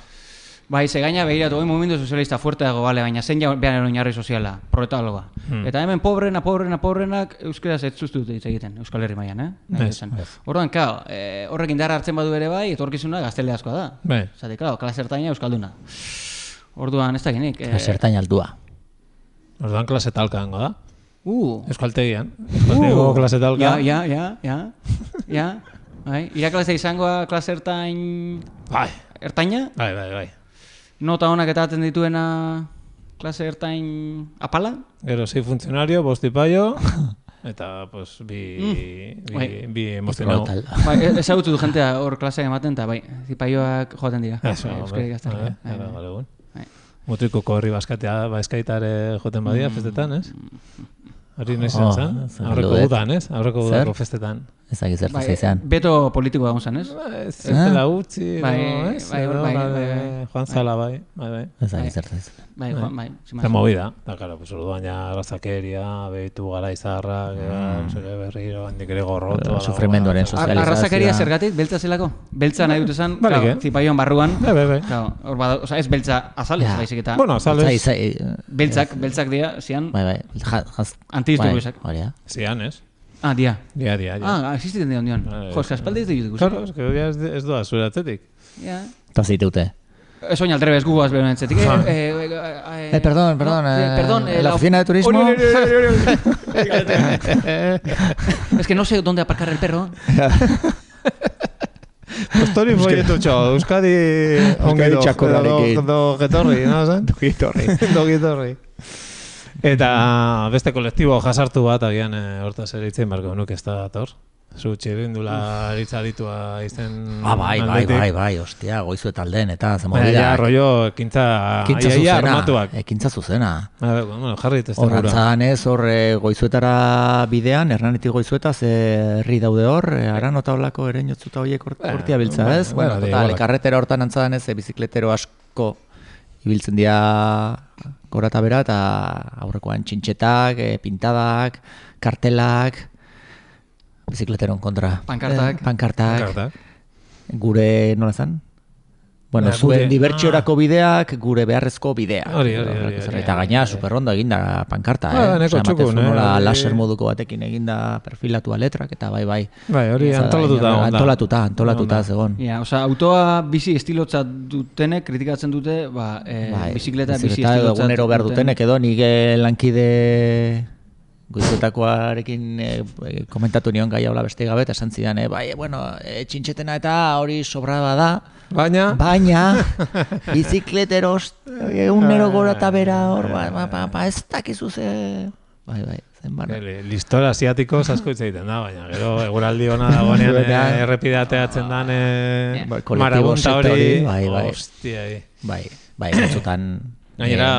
C: Bai, ze gaina behiratu, hoi momentu sozialista fuerte dago, bale, baina zein ja behar oinarri soziala, proletaloa.
E: Hmm.
C: Eta hemen pobrena, pobrena, pobrenak, euskaraz ez zuztu dut hitz egiten, Euskal Herri mailan, eh? Nahi
E: Ez,
C: esan.
E: ez.
C: Orduan, kao, e, horrek indarra hartzen badu ere bai, etorkizuna gazteleazkoa da.
E: Bai.
C: Zate, kao, klase ertaina euskalduna. Orduan, ez dakinik. E,
D: Zertain aldua.
E: Orduan klase talka hango da.
C: Uh,
E: Euskaltegian. Euskaltegiko klase talka.
C: Ja, ja, ja, ja. ja. Bai, irakaslea izangoa klase ertain...
E: Bai,
C: Ertaina?
E: bai, bai, bai.
C: Nota honak etaten dituena klase ertain apala?
E: Gero, sei funtzionario, bosti
C: [LAUGHS]
E: paio, eta, pues, bi, bi,
C: Bai.
E: bi emozionau.
D: Brutal.
C: Bai, e- ezagutu du jentea hor klaseak ematen, eta bai, zipaioak joaten dira.
E: Eso,
C: Bai,
E: hombre.
C: Euskadi gazteak.
E: Bai,
C: Bai,
E: gara,
C: bai,
E: gaur egun.
C: bai.
E: Mutriko korri baskatea bazkaitare ba, joten badia festetan, ez? Hori noiz izan
D: Oh,
E: zen?
D: zen
E: Aurreko
D: ludet.
E: udan, ez? Aurreko
D: Zer?
E: udako festetan.
D: Ezak izertu
C: Bai,
D: zeizan.
C: beto politikoa egon zen, ez?
E: Ba, Ez zela utzi,
C: Bai,
E: edo, ez?
C: bai,
E: Edo,
C: bai,
E: la
C: bai,
E: de
C: bai.
E: Juan Zala, bai, bai, bai.
D: Ezak
C: Bai.
D: izertu zeizan.
C: Bai, joan, bai, sin
E: Eta
C: más.
E: movida, da, karo, pues orduan ja arrazakeria, behitu gara izarra, mm. zure berriro, handik ere gorroto. ala,
D: Sufrimenduaren
E: ala,
C: Ar-
D: sozializazioa.
C: Arrazakeria zergatik, beltza zelako? Beltza nahi dut esan,
E: Balik,
C: claro,
E: eh?
C: zipaioan barruan.
E: Bai, bai, bai.
C: Claro, hor bada- osea, ez beltza azalez,
D: Ja.
C: baizik eta...
E: Bueno, sales,
C: Beltzak, beltzak dira, zian...
D: Bai, bai. Ja, jaz...
C: Antidisturbiozak.
D: Bai, Hori da.
E: zian, ez?
C: Ah, dia.
E: Dia, dia, Bai, dia.
C: Ah, existiten dion dion.
E: Bai, bai.
C: Jo, eska espaldi ez dut ikusi.
E: Claro, es que dia ez, ez doa zure atzetik.
C: Ja.
D: Eta zitute.
C: Ez oin aldrebez guaz behar nintzetik.
E: Bai.
C: Eh, eh, eh, eh,
D: Eh, perdón,
C: no,
D: perdón.
C: eh,
D: eh,
C: perdón. eh,
D: la oficina de turismo.
C: Ori, ori, ori, ori,
D: [LAUGHS]
C: ori. Es que no sé dónde aparcar el perro.
D: [LAUGHS]
E: Postori proiektu txo, Euskadi ongi do,
B: txakorarekin.
E: do, do getorri, no
D: [LAUGHS]
E: zen? Do getorri. [LAUGHS] do getorri. Eta beste kolektibo jasartu bat agian eh, hortaz ere itzen barko nuk ez da dator. Zu txirrindula eritza ditua izen...
D: Ah, bai, bai, bai, bai, ostia, goizu eta alden, eta
E: Baina, Bai, ja,
D: zemodira.
E: rollo, ekintza,
D: Ekintza
E: iaia
D: zuzena.
E: armatuak.
D: Ekintza zuzena.
E: A ver, bueno, jarri testen gura.
D: Horratzan ez, hor eh, goizuetara bidean, hernanetik goizueta, ze herri daude hor, eh, arano tablako ere inotzuta horiek hor-
E: Bueno,
D: hortia biltza
E: bueno,
D: ez.
E: bueno,
D: Bueno,
E: da
D: total,
E: igualak.
D: karretera hortan antzadan ez, eh, bizikletero asko ibiltzen dira gora eta bera, eta aurrekoan txintxetak, eh, pintadak, kartelak, bizikleteron kontra.
C: Pankartak.
D: Eh, pankartak.
E: Kartak.
D: Gure, nola zan? Bueno,
E: Ba, gure- ah.
D: zuen dibertsiorako bideak, gure beharrezko bidea.
E: Hori, hori, hori,
D: Horrelako zerbait.
E: hori,
D: Eta
E: hori,
D: gaina,
E: hori.
D: superrondo eginda pankarta,
E: Ba,
D: eh?
E: nahiko
D: Osea, ematen
E: txukun,
D: zuen
E: eh,
D: nola
E: hori-
D: laser moduko batekin eginda perfilatua letrak, eta bai, bai.
E: Bai, hori
D: Ez da,
E: antolatuta
D: inor-
E: egon da.
D: Antolatuta, antolatuta
E: Egon da.
D: zegoen.
C: Ja, oza, autoa bizi estilotza dutenek kritikatzen dute, ba, eh, bizikleta, bizi
D: bizikleta edo
C: estilotza
D: Bai, egunero behar
C: duten-
D: dutenek edo nire lankide goizutakoarekin eh, komentatu nion gai hola beste gabe, eta esan zidan, eh, bai, bueno, eh, txintxetena eta hori sobrada da,
E: Baina,
D: Baina,
E: [LAUGHS]
D: bizikleteros, eh, egunero gora eta bera, hor, ba, ba, ba, ba, ez dakizu ze... Bai, bai, zen bana.
E: Ele, listor asiatiko asko hitz egiten da, baina gero eguraldi ona dagoenean
D: Zuenean.
E: eh, errepidea ateatzen dan eh,
D: Ba, kolektibo
E: marabunta
D: sekte
E: hori,
D: hori, bai, bai.
E: hostia. eh.
D: Bai, bai, batzutan...
E: Gainera,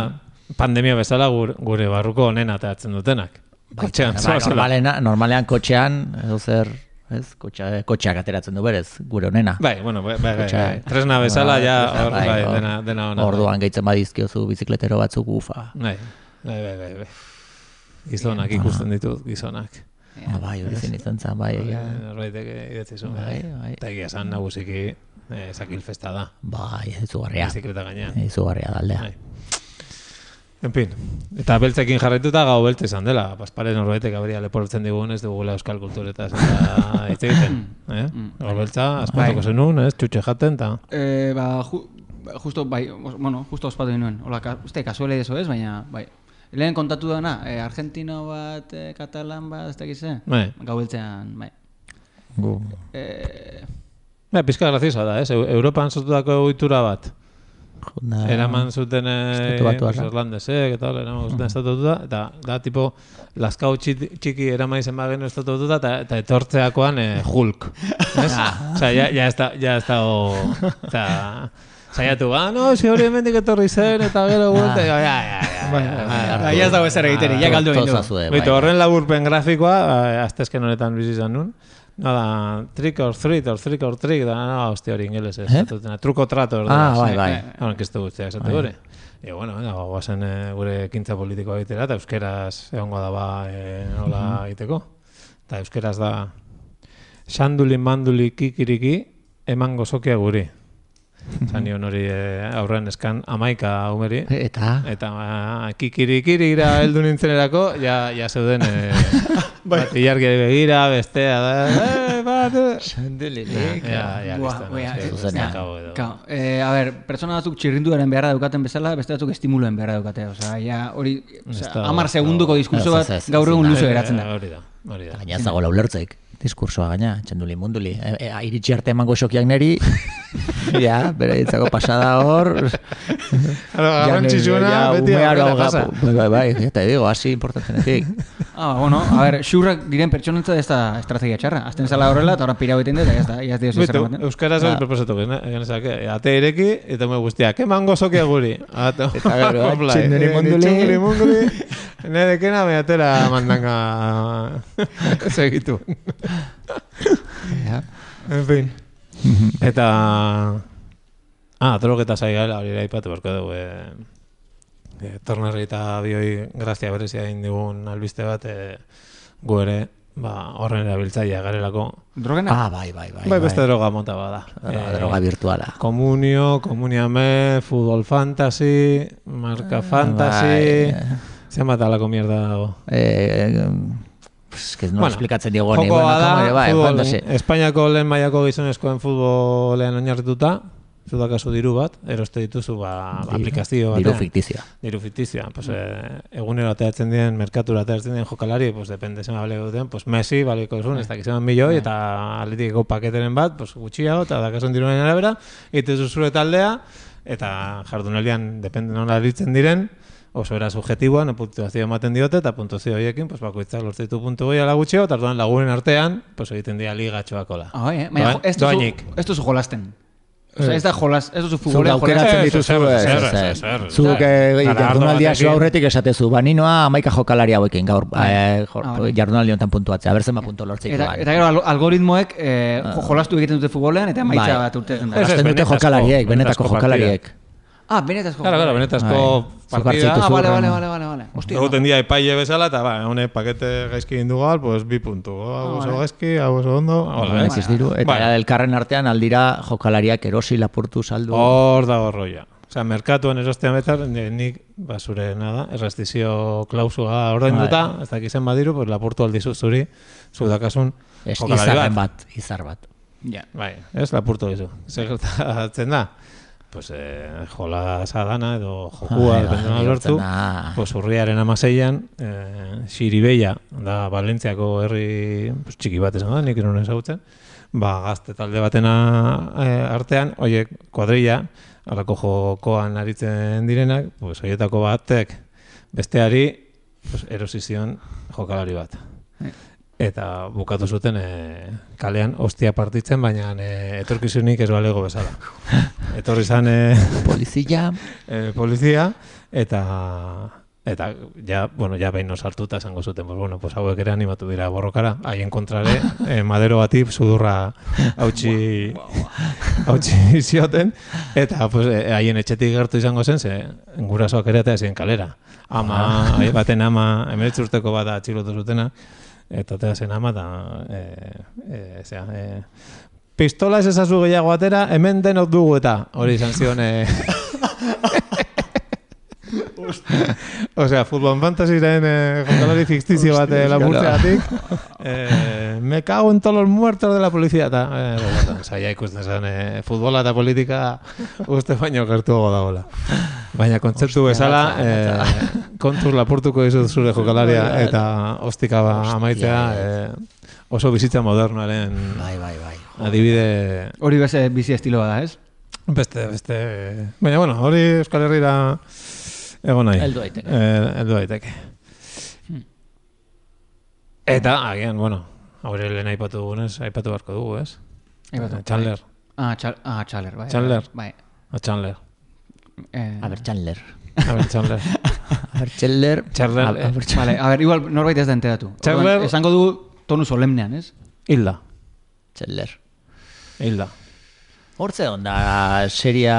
E: pandemia bezala gur- gure barruko honen ateatzen dutenak. Kotxean,
D: Ba,
E: zoazela.
D: normalena, normalean kotxean, edo zer, ez, kotxa, kotxeak ateratzen du berez, gure onena.
E: Bai, bueno, bai, bai, bai,
D: Kotxa-
E: bai. Tresna bezala, ja,
D: tresna,
E: hor, bai,
D: hor.
E: dena, dena ona.
D: Orduan gehitzen badizkiozu bizikletero batzuk ufa.
E: Bai, bai, bai, bai, bai. Gizonak ikusten ditut, gizonak.
D: Ah, bai, hori zen izan zen, bai, egia.
E: Norbaitek eh, idatzi zuen.
D: Bai,
E: bai.
D: bai.
E: Eta egia esan nagusiki eh, zakil festa da,
D: Bai, izugarria.
E: bizikleta gainean.
D: Izugarria da aldea.
E: Bai. En fin, eta beltzekin jarraituta gau beltze izan dela. Paspare norbaitek aberia leportzen digun ez dugula euskal kulturetaz eta hitz egiten. Eh? Gau beltza, aspatuko zenun, ez, txutxe jaten, eta...
C: Eh, ba, ju, ba, justo, bai, os- bueno, justo ospatu dinuen. Hola, ka, uste, kasuele eso ez, baina, bai. Lehen kontatu dana, eh, Argentino bat, eh, Katalan bat, ez dakiz, eh?
E: Bai.
C: Gaueltzean, bai.
D: Gu-
C: Eh,
E: Bai, Ba, pizka graziosa da, ez? Eu- Europan sortutako egitura bat.
D: Junda,
E: Eraman zuten eh,
D: Estatu Batuarra.
E: pues, irlandesek eta hola, eraman zuten estatututa, eta da, tipo, laskau txit- txiki eraman izen bagenu estatututa, eta, eta etortzeakoan eh, Hulk. Ez? Osea, ja, ja, ez da, ja ez da, o, eta, saiatu, ah, no, si hori hemendik etorri zen, eta gero gulte, ja, ja, ja, ja, ja,
C: Ah, ja ez dago ezer egiterik, ja galdu egin du.
D: Tozazue, bai.
E: Beitu, horren laburpen grafikoa, eh, aztezken honetan bizi izan nun. Nada, trick or treat, or trick or trick, da, no, hostia hori ingeles ez.
D: Eh?
E: Eh? Truko trato,
D: Ah, bai, bai.
E: Hau, kestu guztia, esate gure. E, bueno, venga, ba, guazen eh, gure kintza politikoa egitera, eta euskeraz egongo da ba, eh, nola
D: Mhm.
E: egiteko. Eta euskeraz da, xanduli manduli kikiriki, eman gozokia guri.
D: [LAUGHS]
E: Zanion hori eh, aurren eskan amaika umeri.
D: Bai. Eta,
E: Eta ba, kikirikirira heldu nintzenerako, ja, ja zeuden [LAUGHS] eh, bat ilargiari begira, bestea da, eh, bat, eh. Ja, ja,
C: Buah,
E: listan,
C: oia, eh,
E: hasi, zuzenean gau edo.
C: Ka, eh, a ber, pertsona batzuk txirrinduaren beharra daukaten bezala, beste batzuk estimuluen beharra daukate. Osea, ja, hori,
E: Ez
C: osea,
E: da-
C: amar segunduko diskurso
D: Ez,
C: bat
D: ez, ez,
C: gaur egun
D: ezin
C: luzo
E: Eh,
C: geratzen da.
E: Hori da, hori da.
D: gaina ez dago laulertzeik. Diskursoa gaina, txanduli munduli. E, e, iritsi arte emango xokiak
E: [LAUGHS]
D: neri, ja, bere ditzako pasada hor.
E: Claro,
D: Ja,
E: garrantzitsuena
D: ja,
E: beti
D: ume
E: aurrera
D: aroa
E: pasa.
D: gapu. Bai, bai, bai, ja te digo, hasi
E: [LAUGHS]
D: importantenetik.
C: Ah, ba, bueno, a ber, xurrak diren pertsonentza ez da estrategia txarra. Azten zala horrela, eta horra pira egiten dut, eta ez da, iaz dioz
E: Bitu,
C: izan ematen.
E: euskaraz
D: Ah.
E: hori proposatu gena- genezak, eh, ate ireki eta ume guztiak, eman gozokia guri.
D: [LAUGHS]
E: Ato,
D: Eta gero, ah,
E: Hoplai,
D: txinduri
E: eh, ni
D: munduli.
E: txinduri munduli, [LAUGHS] nire kena me atera mandanga
D: [LAUGHS]
E: [LAUGHS] segitu.
D: Ja.
E: En fin. Eta... Ah, drogeta zaigala hori ere aipatu beharko dugu. Eh, eh, Tornerri eta bioi grazia berezia egin digun albiste bat eh, gu ere ba, horren erabiltzailea garelako.
C: Drogena?
D: Ah, bai, bai, bai.
E: Bai, eh. beste droga mota bada.
D: Droga- Droga virtuala.
E: Komunio, komuniame, futbol fantasy, marka fantasy...
D: Eh, bai.
E: Zenbat alako mierda dago.
D: Eh, pues, que no
E: Bueno,
D: explikatzen diogu ni.
E: Jokoa
D: bueno,
E: da,
D: como ere, bai,
E: futbol-
D: fantasi.
E: Espainiako lehen mailako gizonezkoen futbolean oinarrituta, zudakazu diru bat, eroste dituzu ba, aplikazio batean.
D: Diru fiktizioa.
E: Diru fiktizioa. Pues, eh, egunero ateratzen diren, merkatura ateratzen diren jokalari, pues, depende zema baleko duten, pues, Messi baleko
C: Bai.
E: zuen, ez dakizeman milioi, eta atletikeko paketeren bat, pues, gutxiago, eta dakasun diruen arabera, egiten zuzure taldea, eta jardunaldian, depende nola aritzen diren, oso era subjetiboan, puntuazio ematen diote, eta puntuazio horiekin, pues, bakoitzak lortzen ditu puntu gehiago ala gutxiago, eta orduan lagunen artean, pues, egiten dira liga txoakola.
C: Ah, bai, eh? Baina, jo- ez
E: Doainik.
C: duzu, ez duzu jolasten. Osea, ez da jolas, ez duzu
B: Zuk
C: futbolean jolasten.
B: aukeratzen
E: Ez,
B: dituzu. ez,
E: ez, ez,
B: ez, ez.
E: ez, ez.
B: Zuk eh,
E: Ara,
B: jardunaldia
E: ardo
B: zu aurretik esatezu. Ba, ninoa amaika jokalari hauekin gaur eh, jor-
C: Ah, bai.
B: jardunaldi honetan puntuatzea. Berzen ba puntu lortzei
C: Eh, Eta, eta gero al- algoritmoek eh,
D: Ah.
C: jo- jolastu egiten dute futbolean, eta maitza
B: Bai.
C: bat urtetzen
E: Ez,
C: da.
E: ez,
B: Gasten dute
E: benetazko-
B: jokalariek, benetako
E: benetazko
B: jokalariek.
C: Ah, benetazko.
E: Claro, claro, benetazko
B: Bai. Zuk
E: partida.
B: hartzen
C: Ah, vale,
B: zurren.
C: vale, vale, vale, vale. Hostia,
E: Egoten dira epaile bezala, eta ba, honek pakete gaizki egin dugu al, pues bi puntu. Hau oso
C: vale.
E: gaizki, hau oso ondo. Hola,
B: Bai,
E: eh?
B: ez diru.
D: Eta
E: Bueno.
D: elkarren artean aldira jokalariak erosi lapurtu saldu.
E: Oh, Hor dago rolloa. Osea, merkatuan erostean betar, ni- nik, ba, zure nada, errastizio klausua ordainduta, ez dakizen badiru, pues, lapurtu aldizu zuri, zudakasun
D: Ez,
E: jokalari
D: izarren
E: bat.
D: bat, izar bat.
C: Ja.
E: Bai, ez lapurtu dizu. Zer gertatzen da? Pues, eh, jola sadana edo jokua,
D: Ah,
E: depende
D: bai,
E: nola lortu.
D: gertzen da.
E: Pues, urriaren amaseian, eh, Xiribeia, da Valentziako herri pues, txiki bat esan da, nik non ezagutzen. Ba, gazte talde batena eh, artean, oiek kuadrilla, alako jokoan aritzen direnak, pues, oietako batek besteari pues, erosi zion jokalari bat. Eta bukatu zuten eh, kalean ostia partitzen, baina eh, etorkizunik ez balego bezala. Etorri zan eh,
D: Polizia,
E: eh, polizia, eta eta ja, bueno, ja behin osartuta esango zuten, pues, bueno, pues hauek ere animatu dira borrokara, haien kontrare, eh, madero bati sudurra hautsi [LAUGHS] hautsi zioten, eta pues, eh, haien etxetik gertu izango zen, ze gurasoak ere eta ezin kalera. Ama, haien baten ama, emeretz urteko bat atxilotu zutena, eta eta zen ama, da, eh, eh, zera, eh, pistola ez ezazu gehiago atera, hemen denok dugu eta, hori izan zion, eh, Osea, futbol fantasiren eh,
D: [LAUGHS]
E: jokalari fiktizio bat eh, lapurtzeagatik. Eh, me cago en todos los muertos de la policía. Eta, eh, bueno, saia ikusten zen, eh, futbola eta politika uste baino gertuago dagoela. Baina kontzeptu bezala, eh, kontuz lapurtuko dizut zure jokalaria eta ostika ba amaitzea eh, oso bizitza modernoaren
D: Bai, bai, bai.
E: adibide
C: Hori beste bizi estiloa da, ez?
E: Beste, beste... Baina, bueno, hori Euskal Herriera egon nahi.
D: Heldu daiteke. Hmm.
E: Eh, heldu daiteke. Eta, agian, bueno, hori lehen aipatu dugunez, aipatu beharko dugu, ez?
C: Aipatu.
E: Eh, Chandler.
C: Ah, txal, ah, txaler, bai.
E: Txaler.
C: Bai.
E: O Chandler.
C: Eh,
D: A ber, Chandler.
E: A ver, Chandler.
D: [LAUGHS] A ber, Chandler.
E: Chandler, eh.
C: Vale, a ber, igual norbait ez da enteratu.
E: Txaler-
C: Orduan, Esango du tonu solemnean, ez?
E: Hilda.
D: Chandler.
E: Hilda.
D: Hortze onda, seria,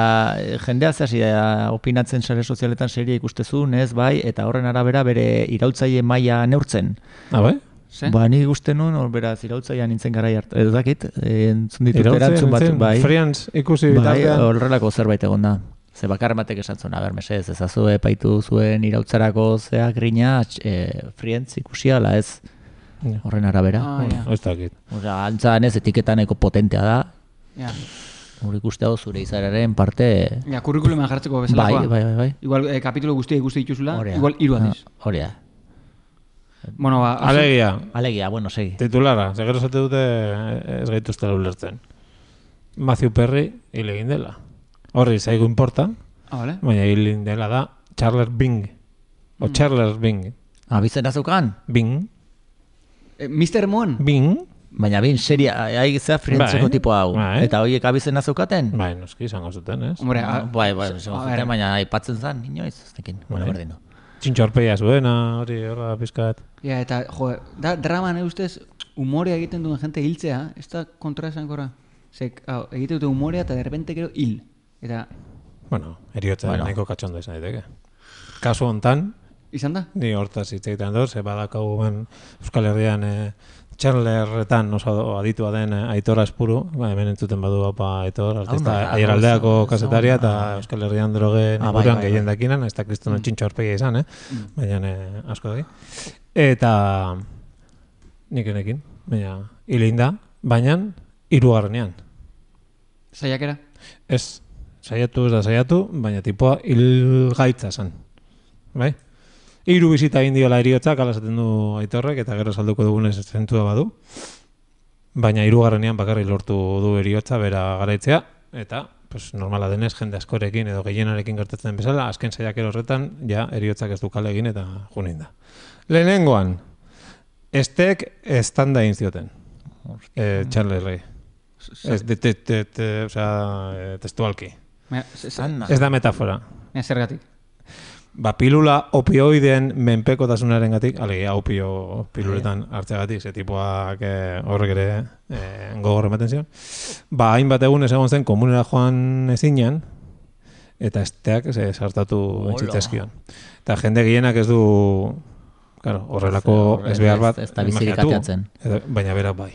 D: jendea zehasi da opinatzen sare sozialetan seria ikustezun, ez bai, eta horren arabera bere irautzaile maila neurtzen.
E: Ah, bai?
C: Ze?
D: Ba, ni ikusten nun, hor beraz, irautzaia nintzen garai hartu, ez dakit, eh, entzun ditut
E: Irautzi,
D: erantzun batzuk,
E: entzun,
D: bai.
E: Friends ikusi
D: Bai,
E: bitartean.
D: horrelako zerbait egon da. Ze bakar batek esan zuen, aber, mesez, ezazu epaitu zuen irautzarako zea grina, e, frientz ikusiala ez
E: Ja.
D: horren arabera.
C: Ah,
E: Bueno,
C: ja.
E: Ez dakit.
D: Osea, antzan ez etiketaneko potentea da,
C: Ja.
D: hor ikustea hau zure izararen parte...
C: Ja, kurrikuluman jartzeko
D: Bai,
C: bezalakoa.
D: bai, bai, bai.
C: Igual eh, kapitulu guztia ikusi dituzula,
D: Hori da.
C: igual hiru aldiz.
D: Ah, eh. Hori da.
C: Bueno, ba, hasi-
E: Alegia,
D: Alegia, bueno, segi.
E: titulara, zegero zate dute eh, ez gaituztela ulertzen. Matthew Perry hil egin dela. Horri, zaigu importa,
C: Ah, vale.
E: baina hil egin dela da Charles Bing. O Charles Bing.
D: Ah, Abizen azukan?
E: Bing.
C: Eh, Mr. Moon?
E: Bing.
D: Baina bin, seria, hai zea frientzeko
E: Bai,
D: tipo hau.
E: bai. Ah,
D: Eta horiek abizen azukaten?
E: Bai, noski izango zuten, ez?
C: Hombre, ah. a-
D: Bai, bai,
C: a
D: zego
C: ver.
D: zuten, baina aipatzen zen, inoiz, ez dekin. Bueno,
E: Bai.
D: berdin du.
E: Txintxorpeia zuena, hori, horra, pizkat.
C: Ja, eta, jo, da drama ne ustez humorea egiten duen jente hiltzea, ez da kontra esan gora. Zek, hau, egite dute humorea eta derrepente gero hil. Eta,
E: Bueno, eriotza
D: Bueno.
E: nahiko katxondo izan daiteke. Kasu hontan,
C: izan da?
E: ni hortaz hitz egiten dut, ze badakagu ben Euskal Herrian eh, txerlerretan oso do- aditua den eh, Aitor Aspuru, ba, hemen entzuten badu apa Aitor, artista
D: da,
E: aieraldeako
D: oso-
E: kazetaria
D: oso-
E: eta
D: ah,
E: Euskal Herrian drogen
D: Ah, bai,
E: inguruan
D: bai, Mm. bai.
E: gehien dakinan, ez da kristono txintxo aurpegia izan, eh? baina eh, asko da. Eta nik enekin, baina hilinda, baina hirugarrenean.
C: Zaiakera?
E: Ez, saiatu ez da saiatu, baina tipoa hil gaitza zen. Bai? Hiru bizita egin diola eriotzak, ala esaten du aitorrek, eta gero salduko dugunez zentua badu. Baina hirugarrenean bakarrik lortu du eriotza, bera garaitzea, eta pues, normala denez jende askorekin edo gehienarekin gertatzen bezala, azken saiakero horretan, ja, eriotzak ez du kale egin eta junin da. Lehenengoan, estek estanda egin zioten. Eh, Charles Rey. Ez, te, te, te, te, o sea, eh, testualki.
C: Mira, ze- ze-
D: Anda.
E: Ez da metafora.
C: mira, zergatik.
E: Ba, pilula opioiden menpekotasunaren gatik, alegia opio piluletan hartzeagatik, ze tipoak eh, horrek ere eh, gogor ematen zion. Ba, hainbat egun egon zen komunera joan ezinan, eta esteak ze, sartatu entzitzezkion. Eta jende gehienak ez du, claro, horrelako
D: Ze,
E: ez behar bat,
D: ez- ez da bizirik
E: imaginatu.
D: ateatzen.
E: Edo- Baina berak bai.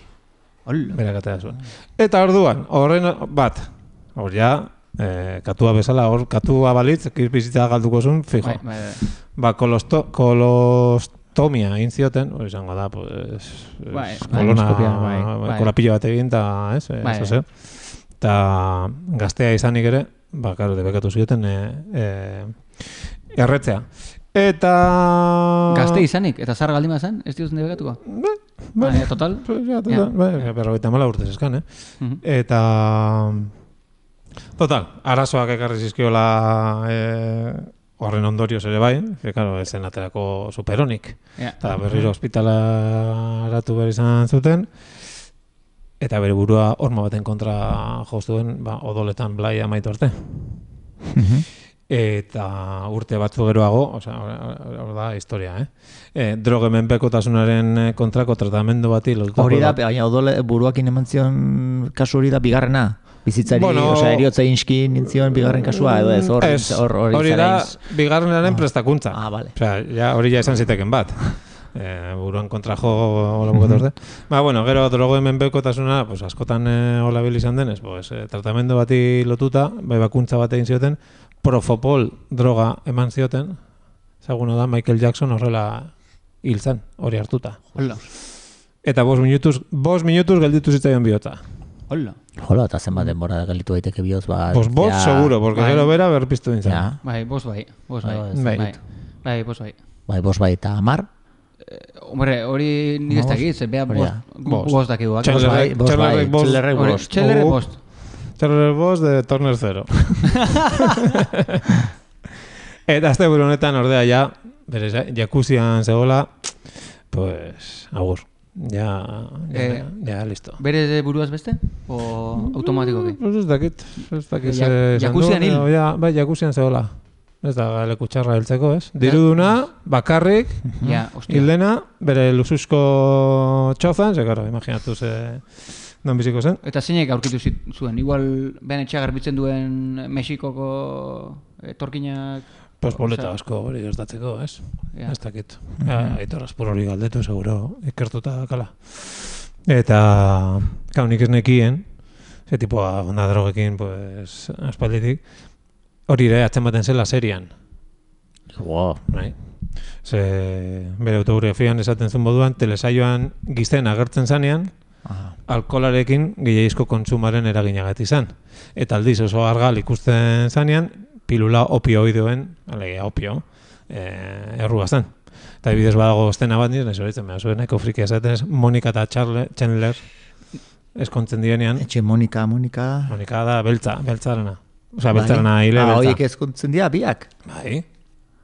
C: Hola.
E: Berak atera zuen. Eta orduan, horren bat, hor ja, eh, katua bezala, hor katua balitz, bizitza galduko zuen, fijo.
C: Bai, bai, bai.
E: Ba, kolosto, kolostomia egin zioten, hori izango da, pues,
C: Bai,
E: es, kolona, eh,
D: bai, bai,
C: bai.
E: kolapillo bat egin, eta, ez, ez,
C: Bai,
E: ez, ez, eta gaztea izanik ere, ba, karo, debekatu zioten, e, e, erretzea. Eta...
C: Gazte izanik, eta zar galdima zen, ez diotzen debekatuko?
E: Bai.
C: Baina, total.
E: Ja,
C: Ja.
E: total, bai, berrogeita hamala urtez eskan, eh?
C: Mhm.
E: Eta... Total, arazoak ekarri zizkiola eh, horren ondorioz ere bai, que, claro, ez zen aterako superonik.
C: Ja.
E: Eta berriro ospitalaratu behar izan zuten, eta bere burua horma baten kontra jostuen, ba, odoletan blai amaitu arte.
D: Mhm.
E: Eta urte batzu geroago, osea, hor- hor hor da historia, eh? E, drogemen pekotasunaren kontrako tratamendu bati lotutako
D: Hori da,
E: da-
D: baina odole buruakin eman zion kasu hori da bigarrena. Bizitzari,
E: Bueno-
D: bueno, osea, eriotza inski nintzion bigarren kasua, edo ez, hor,
E: Ez,
D: hor, hor,
E: hori da, bigarrenaren prestakuntza.
D: Ah, vale.
E: Osea, ja, hori ja esan ziteken bat.
D: [LAUGHS]
E: Eh, buruan kontra jo hola
D: Mhm.
E: bukatu arte. Ba, bueno, gero drogoen menpekotasuna, pues askotan eh, hola bil izan denez, pues eh, tratamendu bati lotuta, bai bakuntza bat egin zioten, profopol droga eman zioten. Ezaguna da Michael Jackson horrela hil zen, hori hartuta.
C: Hola.
E: Eta bost minutuz, bost minutuz gelditu zitzaion bihotza.
C: Hola.
D: Jola, eta zenbat denbora galitu daiteke bihotz, ba...
E: Pues bost,
D: ja-
E: seguro, porque
C: Bai.
E: gero bera berpiztu dintzen.
D: Ja,
C: Bai, bos bai, bos bai.
D: Bai,
E: bai.
C: Bai, bai, bos bai. Eh,
D: bai, bost bai, eta amar,
C: Hombre, hori nik ez
D: Hamabost.
C: dakit, ze beha
D: Hori
C: bost,
D: da.
C: gu-
E: Bost.
C: bost dakigu.
E: Txalerrek-
D: bost bai,
E: txalerrek bost.
D: txalerrek
C: Hori,
D: bost.
C: Txelere
E: Gu-
C: bost.
E: Turner Boss de Turner [LAUGHS] Zero. Eta azte buru honetan ordea ja, bere, jakuzian zegoela, pues, agur. Ja, ja,
C: Eh,
E: ja, listo.
C: Bere buruaz beste? O automatikoki?
E: Mm, Pues ez dakit, ez dakit.
C: Ja-
E: ze esan
C: jakuzian
E: du,
C: hil.
E: baina, Ja, bai, jakuzian zegoela. Ez da leku txarra heltzeko, ez? Diruduna, bakarrik,
C: Ja, ostia.
E: hildena, bere luzuzko txozan, ze, gara, imaginatu ze non biziko zen.
C: Eta zeinek aurkitu zit- zuen? Igual ben etxea garbitzen duen Mexikoko etorkinak...
E: Pues boleta
C: Osea-
E: asko hori gertatzeko, ez?
C: Ja.
E: Ez dakit. Ja, Aitor Azpur hori galdetu, seguro, ikertuta dakala. Eta, kau, nik ez nekien, ze tipoa onda drogekin, pues, aspalditik, hori ere atzematen zela serian,
B: Wow.
E: nahi? Ze, bere autobiografian esaten zuen moduan, telesaioan gizten agertzen zanean, alkolarekin gehiagizko kontsumaren eraginagatik izan. Eta aldiz oso argal ikusten zanean, pilula opioidoen, alegia opio, eh, errua zen. Eta bidez badago ostena bat niz, nahi zoretzen behar zuen, eko frikia esaten ez, Monika eta Charle, Chandler eskontzen direnean,
D: Etxe Monika, Monika...
E: Monika da beltza, beltzarena. Osea, beltzarena hile
D: Ah, horiek
E: beltza.
D: ezkontzen dira, biak.
E: Bai,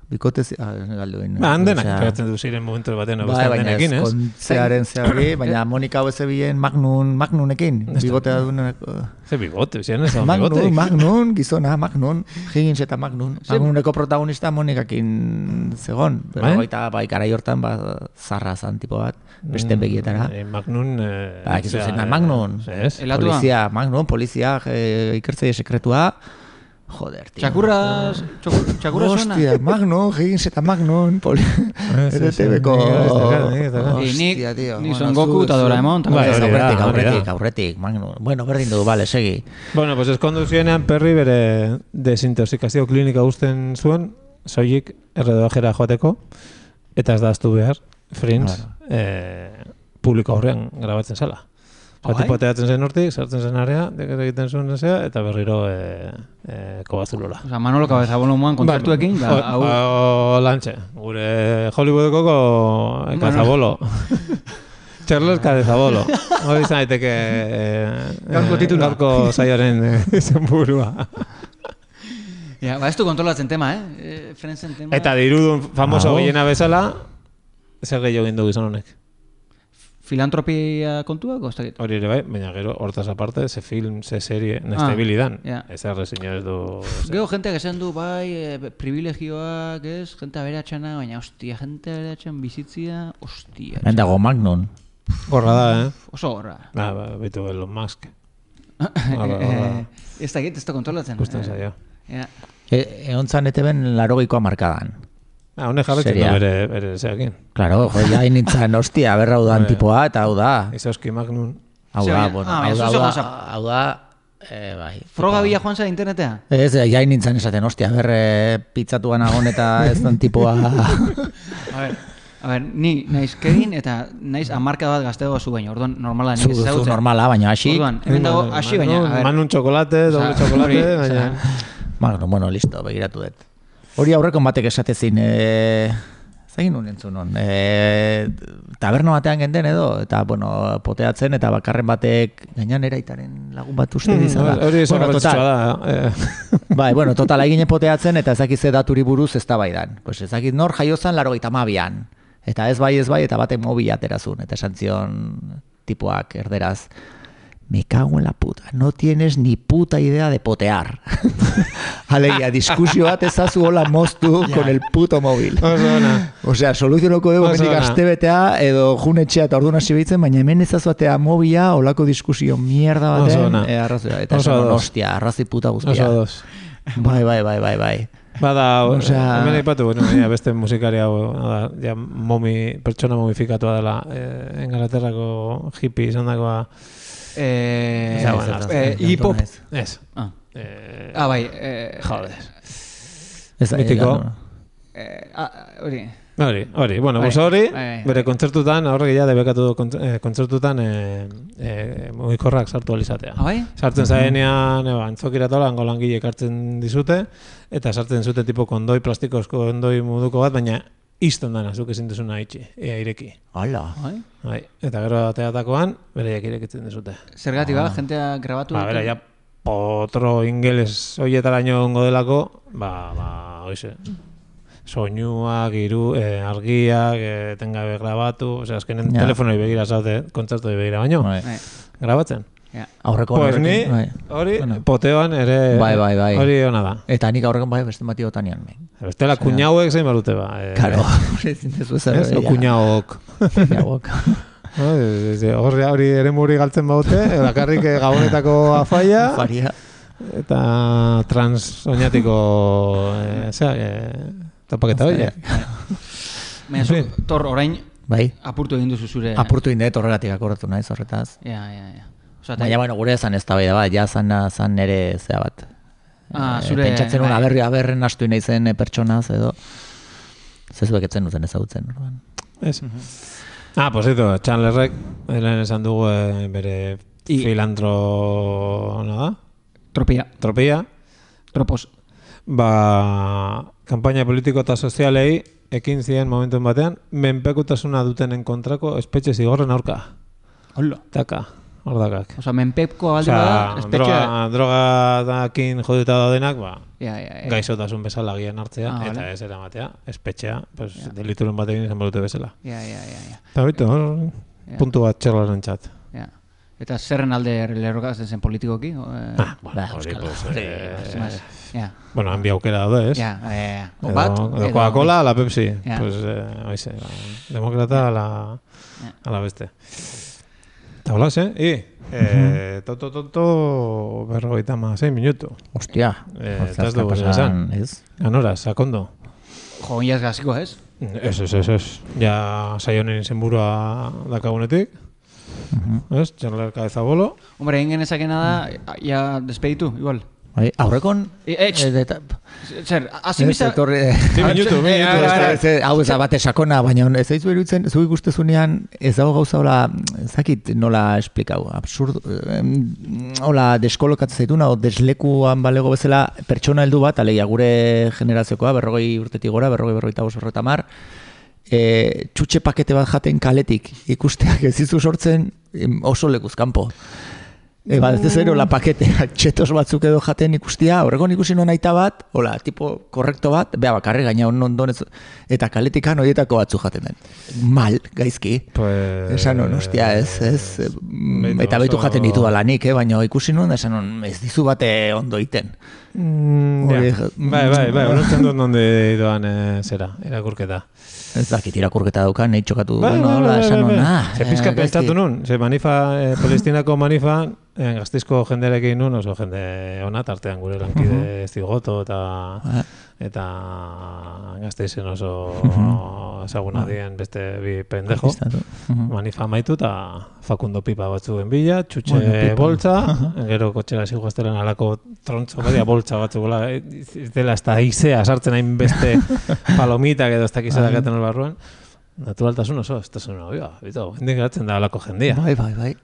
D: Bikotez... Ah, galdu egin.
E: ba, handenak,
D: Osea,
E: pegatzen du ziren momentu batean,
D: Bai,
E: beste
D: baina
E: handenekin, ez?
D: ezkontzearen zehari, baina Monika hau ez zebilen Magnun, Magnunekin, bigotea duenak...
E: Ze bigote, ziren ez da bigote.
D: Magnun, Magnun, gizona, Magnun, Higgins eta Magnun. Magnuneko protagonista Monikakin zegon. Pero
E: Bai?
D: baita, bai, garai hortan, ba, zarra zan tipo bat, beste begietara.
E: Eh, Magnun... Eh,
B: Ah,
D: Ba, akizu
E: zera,
D: zen da Magnun.
E: eh, Ez?
C: Elatua?
D: Polizia, Magnun, polizia, eh, ikertzaile sekretua. Joder, tío.
C: Txakurra, txakur, txakurra suena?
D: Hostia, Magnun, Higgins eta Magnun, poli... Ah,
E: Ez, ez, ez,
D: RTBko...
E: nik ez dakar, nik ez dakar.
D: Ah.
C: Eh, nik-
D: Hostia, tío.
C: ni Son Goku
D: zu-
C: eta
D: zu-
C: Doraemon, eta-
D: Bai,
E: Bai, hori da,
D: aurretik,
E: hori da.
D: aurretik, aurretik, Magnun. Bueno, berdin du, vale, segi.
E: Bueno, pues eskondu zuenean perri bere desintoxikazio klinika uzten zuen, soilik erredojera joateko, eta ez da aztu behar, Friends, eh, publiko horrean grabatzen zela. Osa,
C: Bai?
E: tipo ateratzen zen hortik, sartzen zen area, dekera egiten zuen zea, eta berriro eh, eh, kobazulola.
C: Osa, Manolo Cabezabon humoan kontzertuekin, ba,
E: Ba,
C: hau...
E: hau... Lantxe, gure Hollywoodeko ko... Cazabolo.
C: [LAUGHS]
E: Charles Cabezabolo. Hori izan daiteke... eh,
C: Gaurko
E: eh,
C: titulua.
E: Gaurko saioaren eh, [LAUGHS] izenburua.
C: Ja, ba, ez du kontrolatzen tema, eh? E, Frenzen tema...
E: Eta dirudun famoso
B: Hau.
E: gehiena bezala, zer gehiago egin du gizon honek.
C: Filantropia kontua, goztakit?
E: Hori ere bai, baina gero hortaz aparte, ze film, ze serie,
C: Ah,
E: neste bilidan.
C: ja.
E: Ez erre zinez du...
C: Gero jenteak esan du, bai, e, privilegioak ez, jente aberatxana, baina ostia, jente aberatxan bizitzia, ostia.
B: Hemen dago Magnun.
E: Gorra da, eh?
C: Oso horra.
E: Ba, ba, bitu Elon Musk. Horra, horra.
C: Eh, ez da ez da kontrolatzen.
E: Gusten
C: Eh,
E: zaio.
C: Ja.
B: E, egon zan eteben larogeikoa markadan.
E: Ah, honek jarretzen du
B: Seria.
E: bere, bere zeakin.
B: Claro, jo, ja
E: [LAUGHS]
B: nintzen, hostia, berra hau dan tipoa, eta hau da.
E: Izauski Magnun.
B: Hau
C: Ze,
B: da,
C: baina-
B: bueno,
C: ah, baina
B: hau da, hau
C: zuzen
B: da,
C: gauza-
B: hau da, eh, bai.
C: Froga bila joan zara internetea?
B: Ez,
D: eh,
B: ja nintzen esaten, hostia, berre pitzatuan agon eta ez dan
D: [LAUGHS]
B: tipoa.
C: A ber, a ber, ni naiz kegin eta naiz amarka bat gaztego zu baino, orduan normala
B: zu,
C: nik ez
B: zu
C: ezagutzen.
B: normala, baina hasi.
C: Orduan, hemen dago
E: bai,
C: hasi baina, a ber,
E: Manun txokolate, doble
C: Osea,
D: [LAUGHS]
E: txokolate,
C: hori,
E: baina...
B: Magnun, bueno, listo, begiratu dut.
D: Hori aurreko batek esatezin, e, zagin nun entzun hon, e, taberno batean genden edo, eta, bueno, poteatzen, eta bakarren batek, gainan eraitaren lagun bat uste
E: [LAUGHS]
D: dizala.
E: Hmm, Hori esan
D: bueno,
E: garrantzitsua
D: total,
E: da. eh.
D: bai, bueno, total, egine poteatzen, eta ezakit ze daturi buruz ez tabaidan. Pues ezakit nor jaiozan laro gaita mabian. Eta ez bai, ez bai, eta batek mobila aterazun, eta esan zion tipoak erderaz. Me cago en la puta, no tienes ni puta idea de potear. [LAUGHS] Alegia, diskusio bat ezazu hola
E: [LAUGHS]
D: moztu con el puto móvil.
E: Oso ona.
D: Osea, soluzionoko dugu
E: Oso
D: hemendik
E: ona.
D: astebetea edo jun etxea eta orduna hasi behitzen, baina hemen ezazuatea mobila olako diskusio mierda
E: Oso
D: baten
E: ona.
D: e, arrazoia. Eta
E: Oso
D: esan,
E: ados.
D: [LAUGHS] hostia, arrazi puta
E: Oso
D: guztia.
E: ados.
D: Bai, bai, bai, bai, bai.
E: Bada,
D: Osea-
E: hemen aipatu, bueno, baina beste musikari hau, hau da, ja, momi, pertsona momifikatua dela, eh, Engalaterrako hippie izan dagoa,
C: eh,
E: Eta, bueno,
C: eh,
D: azken
C: hip hop.
D: kantua naiz.
E: ez.
C: Ah,
E: Eh,
C: ah, bai, eh,
E: Joder.
D: Ez,
E: Mitiko.
D: eh,
C: eh, ah, hori.
E: Hori, hori, bueno,
C: Bai,
E: pues hori,
C: bai, bai.
E: bere kontzertutan, aurre ja debekatu du kont- eh, kontzertutan eh, eh, mugikorrak sartu alizatea.
C: Ah, bai?
E: Sartzen zarenean, eba, antzokira tola, hango langile ekartzen dizute, eta sartzen zuten tipo kondoi, plastikozko kondoi moduko bat, baina izten dana, zuk ezin duzuna itxi, ea ireki.
D: Hala.
C: Bai?
E: Bai, eta gero ateatakoan, bereiak irekitzen dizute.
C: Zergatik ba, jentea grabatu.
E: Ba,
C: dute.
E: bera, ja, potro ingeles hoietaraino ongo delako, ba, ba, hoxe, soinuak, iru, eh, argiak, eh, tengabe grabatu, osea, azkenen
D: Ja.
E: telefonoi begira zaute, kontzertu begira baino,
D: Bai.
C: Bai,
E: grabatzen.
C: ja.
D: Aurreko
E: Pues ni,
D: horrekin, bai.
E: hori,
D: Bueno.
E: poteoan ere,
D: Bai, bai, bai.
E: hori ona da.
D: Eta nik aurrekoan bai beste bati otanian.
E: Bestela, kuñauek zein balute ba. Eh,
D: Karo, [LAUGHS] ezin dezu ezer.
E: Ez, o
D: [LAUGHS]
E: kuñaok. [LAUGHS]
D: kuñauok.
E: No, ez- ez- Horri hori ere muri galtzen baute, eh, bakarrik eh, gabonetako afaia,
D: Faria.
E: Eta trans oinatiko eh, zea, eh, tapaketa hori.
C: Baina, zu, tor, orain,
D: Bai.
C: apurtu egin duzu zure...
D: Apurtu indet horregatik akordatu naiz horretaz.
C: Ja, ja, ja. Osa,
D: Baina, bueno, gure ezan ez da bai da bat, ja zan, zan nere zea bat.
C: Ah,
D: Eh,
C: zure-
D: Pentsatzen una
C: bai.
D: berri aberren astu inaizen eh, pertsonaz edo. Zezuek etzen duten ezagutzen. orduan.
E: eh. Ez.
C: Mhm.
E: Ah, pues eto, Chandlerrek, helen esan dugu eh, bere
C: I-
E: filantro, no da?
C: Tropia,
E: Tropia.
C: tropos.
E: Ba, kampaina politiko eta sozialei, ekin ziren momentuen batean, menpekutasuna dutenen kontrako espetxe zigorren aurka.
C: Hola.
E: Taka, hor dakak.
C: Osa, menpepko aldi
E: Osea,
C: bada, espetxe...
E: droga, droga dakin joduta daudenak, ba,
C: Ja, ja, ja.
E: gaizotasun bezala agian hartzea,
C: Eh, Ah,
E: eta
C: vale.
E: ez eramatea, espetxea, pues, delituren batekin izan balute bezala.
C: Ja, ja, ja, ja.
E: Eta bitu, hor, puntu bat txerlaren txat.
C: ja. Eta zerren alde lerrokatzen zen politikoki? o, eh?
E: Ah, bueno,
D: Ba,
E: hori,
D: Euskal
E: pues, eh,
C: Mas, ja,
E: bueno, hanbi aukera daude, ez?
C: ja, ja, ja.
E: Edo,
C: eh, Bat,
E: edo Coca-Cola, la Pepsi.
C: Ja.
E: Pues, eh, oize, ba, demokrata a la,
C: Ja.
E: a la beste. Eta hola, eh? I, eh, toto, toto, berrogeita ma, zein minutu.
D: Ostia.
E: Eh,
D: hortaz
E: ez dugu
D: kapasan,
E: esan.
D: Ez?
E: Ganora, sakondo.
C: Jo, inaz gaziko, ez?
E: Mm, Ez, ez, ez, ez. Ja, saionen izenburua dakagunetik. Ez, Charler Cabezabolo.
C: Hombre, egin genezakena da, ja, despeditu, igual.
D: Bai, aurrekon...
C: E, etx.
D: eh, eta-
C: Zer, hasi
D: Ez,
E: eh,
C: bizar...
D: etorri-
E: Bi minutu, bi
C: Eh,
E: minutu.
C: ara, ara.
D: Ez, ez, hau ez da bate sakona, baina ez zaizu eruditzen, zu ikustezunean ez dago gauza hola, ez dakit nola esplikau, absurd, em, hola deskolokatzen zaituna, o deslekuan balego bezala pertsona heldu bat, alegia gure generaziokoa, berrogei urtetik gora, berrogei berrogeita bost horreta mar, e, txutxe pakete bat jaten kaletik ikusteak ez dizu sortzen em, oso lekuzkanpo. E, ba, ez zer, hola, paketeak, [LAUGHS] txetos batzuk edo jaten ikustia, horregon ikusi non aita bat, hola, tipo korrekto bat, bea bakarri gaina on ondonez, eta kaletikan horietako batzu jaten den. Mal, gaizki.
E: Pues... eh,
D: Esan hon, ostia, ez, ez, mm,
E: Beitu
D: eta baitu
E: oso-
D: jaten ditu lanik, eh, baina ikusi non, esan hon, ez dizu bate ondo iten.
E: Mm,
D: Hori-
E: ja. Bai, bai, bai, ulertzen dut nonde doan eh, zera, erakurketa.
D: Ez dakit irakurketa daukan, nahi txokatu,
E: Bai,
D: bueno,
E: bai,
D: hola,
E: bai,
D: esan
E: bai,
D: hon,
E: bai.
D: ah.
E: Ze
D: eh,
E: pizka
D: gaizki.
E: pentsatu nun, ze manifa, eh, palestinako manifa, eh, gaztizko jendearekin nun, oso jende ona tartean gure
D: Mhm.
E: lankide zigoto eta
D: Ah.
E: eta gazteizen oso
D: Mhm. Ah.
E: ezaguna dien beste bi pendejo.
D: Pistatu.
E: Manifa Ba, amaitu eta Facundo Pipa batzuen bila,
D: Bueno,
E: txutxe
D: Pipa. [LAUGHS]
E: boltza, gero kotxera ziguaztelen alako trontzo badia boltza batzugula, eh, ez dela ez da izea sartzen
D: [LAUGHS]
E: hain beste palomitak edo ez dakizera
D: Bai.
E: gaten barruan. Naturaltasun oso, ez da zuen oia, bito, hendik geratzen da alako jendia.
D: Bai, bai, bai.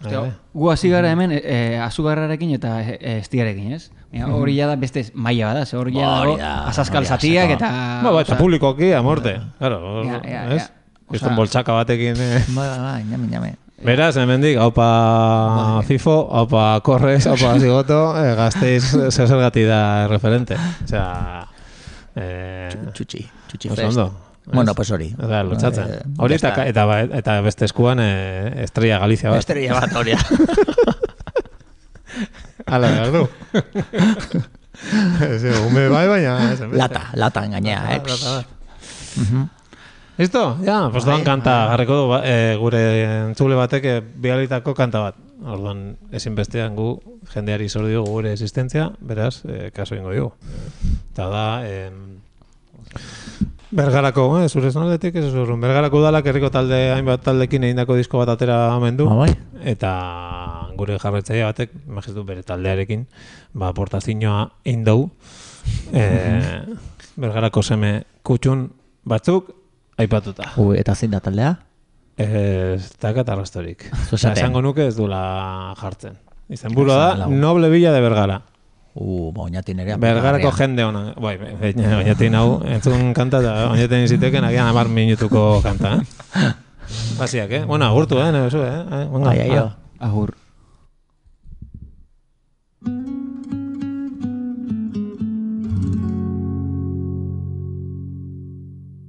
C: Ostia,
E: Eh.
C: Gu hasi gara hemen e, e, azugarrarekin eta e, e, estiarekin, ez? Baina
E: Mhm.
C: Hori ja da beste maila bada, ze hori ja
D: Hori
C: dago
D: da,
C: azaskal
D: hori da,
C: zatiak
D: zeko.
C: eta...
E: Ba, ba, eta publikoki, a muerte. Claro,
C: Ja, ja,
E: ez?
C: ja.
E: Kriston
C: Osea-
E: boltsaka batekin... Eh.
D: Bai, bai, bai, ñame, ñame.
E: Beraz, hemendik, haupa FIFO, haupa
D: [LAUGHS]
E: Corres, haupa Zigoto, eh, gazteiz zezergati da referente. Osea... Eh,
D: Txutxi, txutxi
E: oso
D: fest.
E: ondo.
D: Bueno, pues hori.
E: Ez da, lotxatzen.
D: Eh,
E: Hori
D: ya
E: eta,
D: está.
E: eta, ba- eta beste eskuan eh, Estrella Galicia bat.
D: Estrella bat,
E: [LAUGHS]
D: hori da.
E: Ala,
D: [LAUGHS]
E: behar du. Ez, ume bai, baina... ez, beste.
D: Lata, lata engainea, eh? Mhm.
E: Listo? Ja, bai. pues doan kanta jarriko du ba- eh, gure entzule batek eh, bidalitako kanta bat. Orduan, ezinbestean gu jendeari zor diogu gure existentzia, beraz, eh, kaso ingo dugu. Eta da, em, Bergarako, eh, zure zonaldetik, ez zurrun. Bergarako udalak herriko talde hainbat taldekin egindako disko bat atera omen du.
D: Ah, bai?
E: Eta gure jarraitzaile batek, imagitu bere taldearekin, ba, aportazioa indau. Eh, bergarako seme kutxun batzuk aipatuta.
D: Ui, eta zein da taldea?
E: Ez dakat arrastorik.
D: Zu esaten.
E: Eta Esango nuke ez dula jartzen. Izenburua da,
D: Esan lagun.
E: Noble Villa de Bergara.
D: Uh, ba, oinatin ere.
E: Bergarako jende ona. Bai, oinatein hau, entzun kanta eta oinatein ziteken agian amar minutuko kanta, eh? Basiak, eh? Bueno, ah. agurtu, eh? Nebezu, eh? Eh, venga,
D: Ai, ai,
E: ah.
D: jo.
C: Agur.
D: Agur.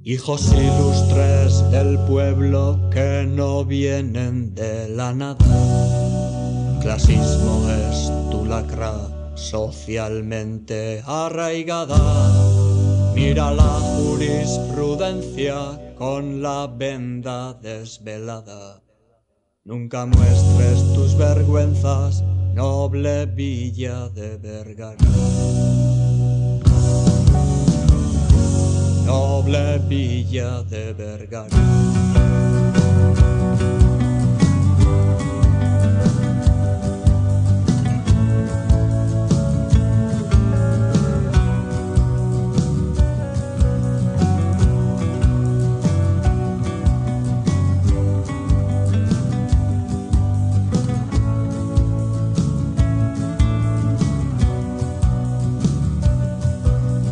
F: Hijos ilustres del pueblo que no vienen de la nada. Clasismo es tu lacra socialmente arraigada. Mira la jurisprudencia con la venda desvelada. Nunca muestres tus vergüenzas, noble villa de Vergara. noble villa de Vergara.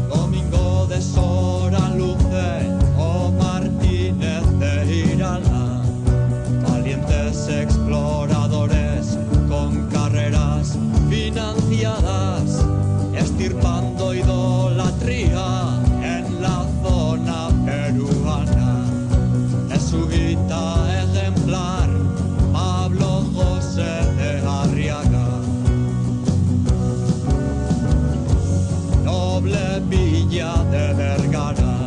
F: Domingo de Sora Luce o Martínez de Irala, valientes exploradores con carreras financiadas, estirpando idolatría en la zona peruana. Es guita ejemplar Pablo José de Arriaga. noble villa de Vergara.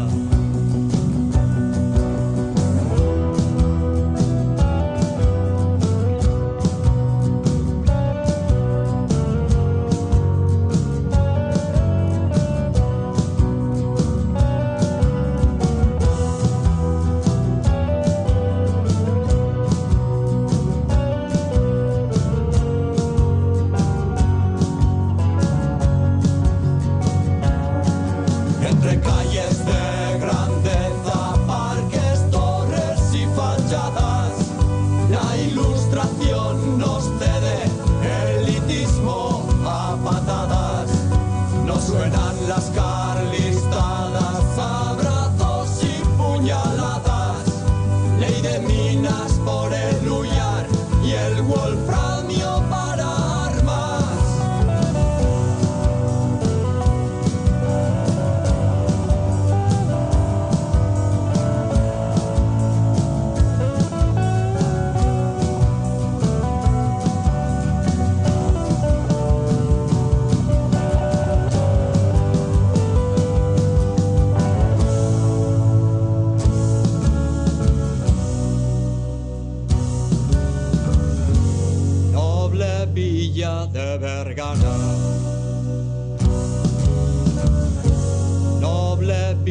F: Entre calles de grandeza, parques, torres y fachadas, la ilustración nos cede elitismo a patadas. No suenan las carlistadas, abrazos y puñaladas, ley de minas por el huyar y el wolframio para armas. noble villa de Vergara. Noble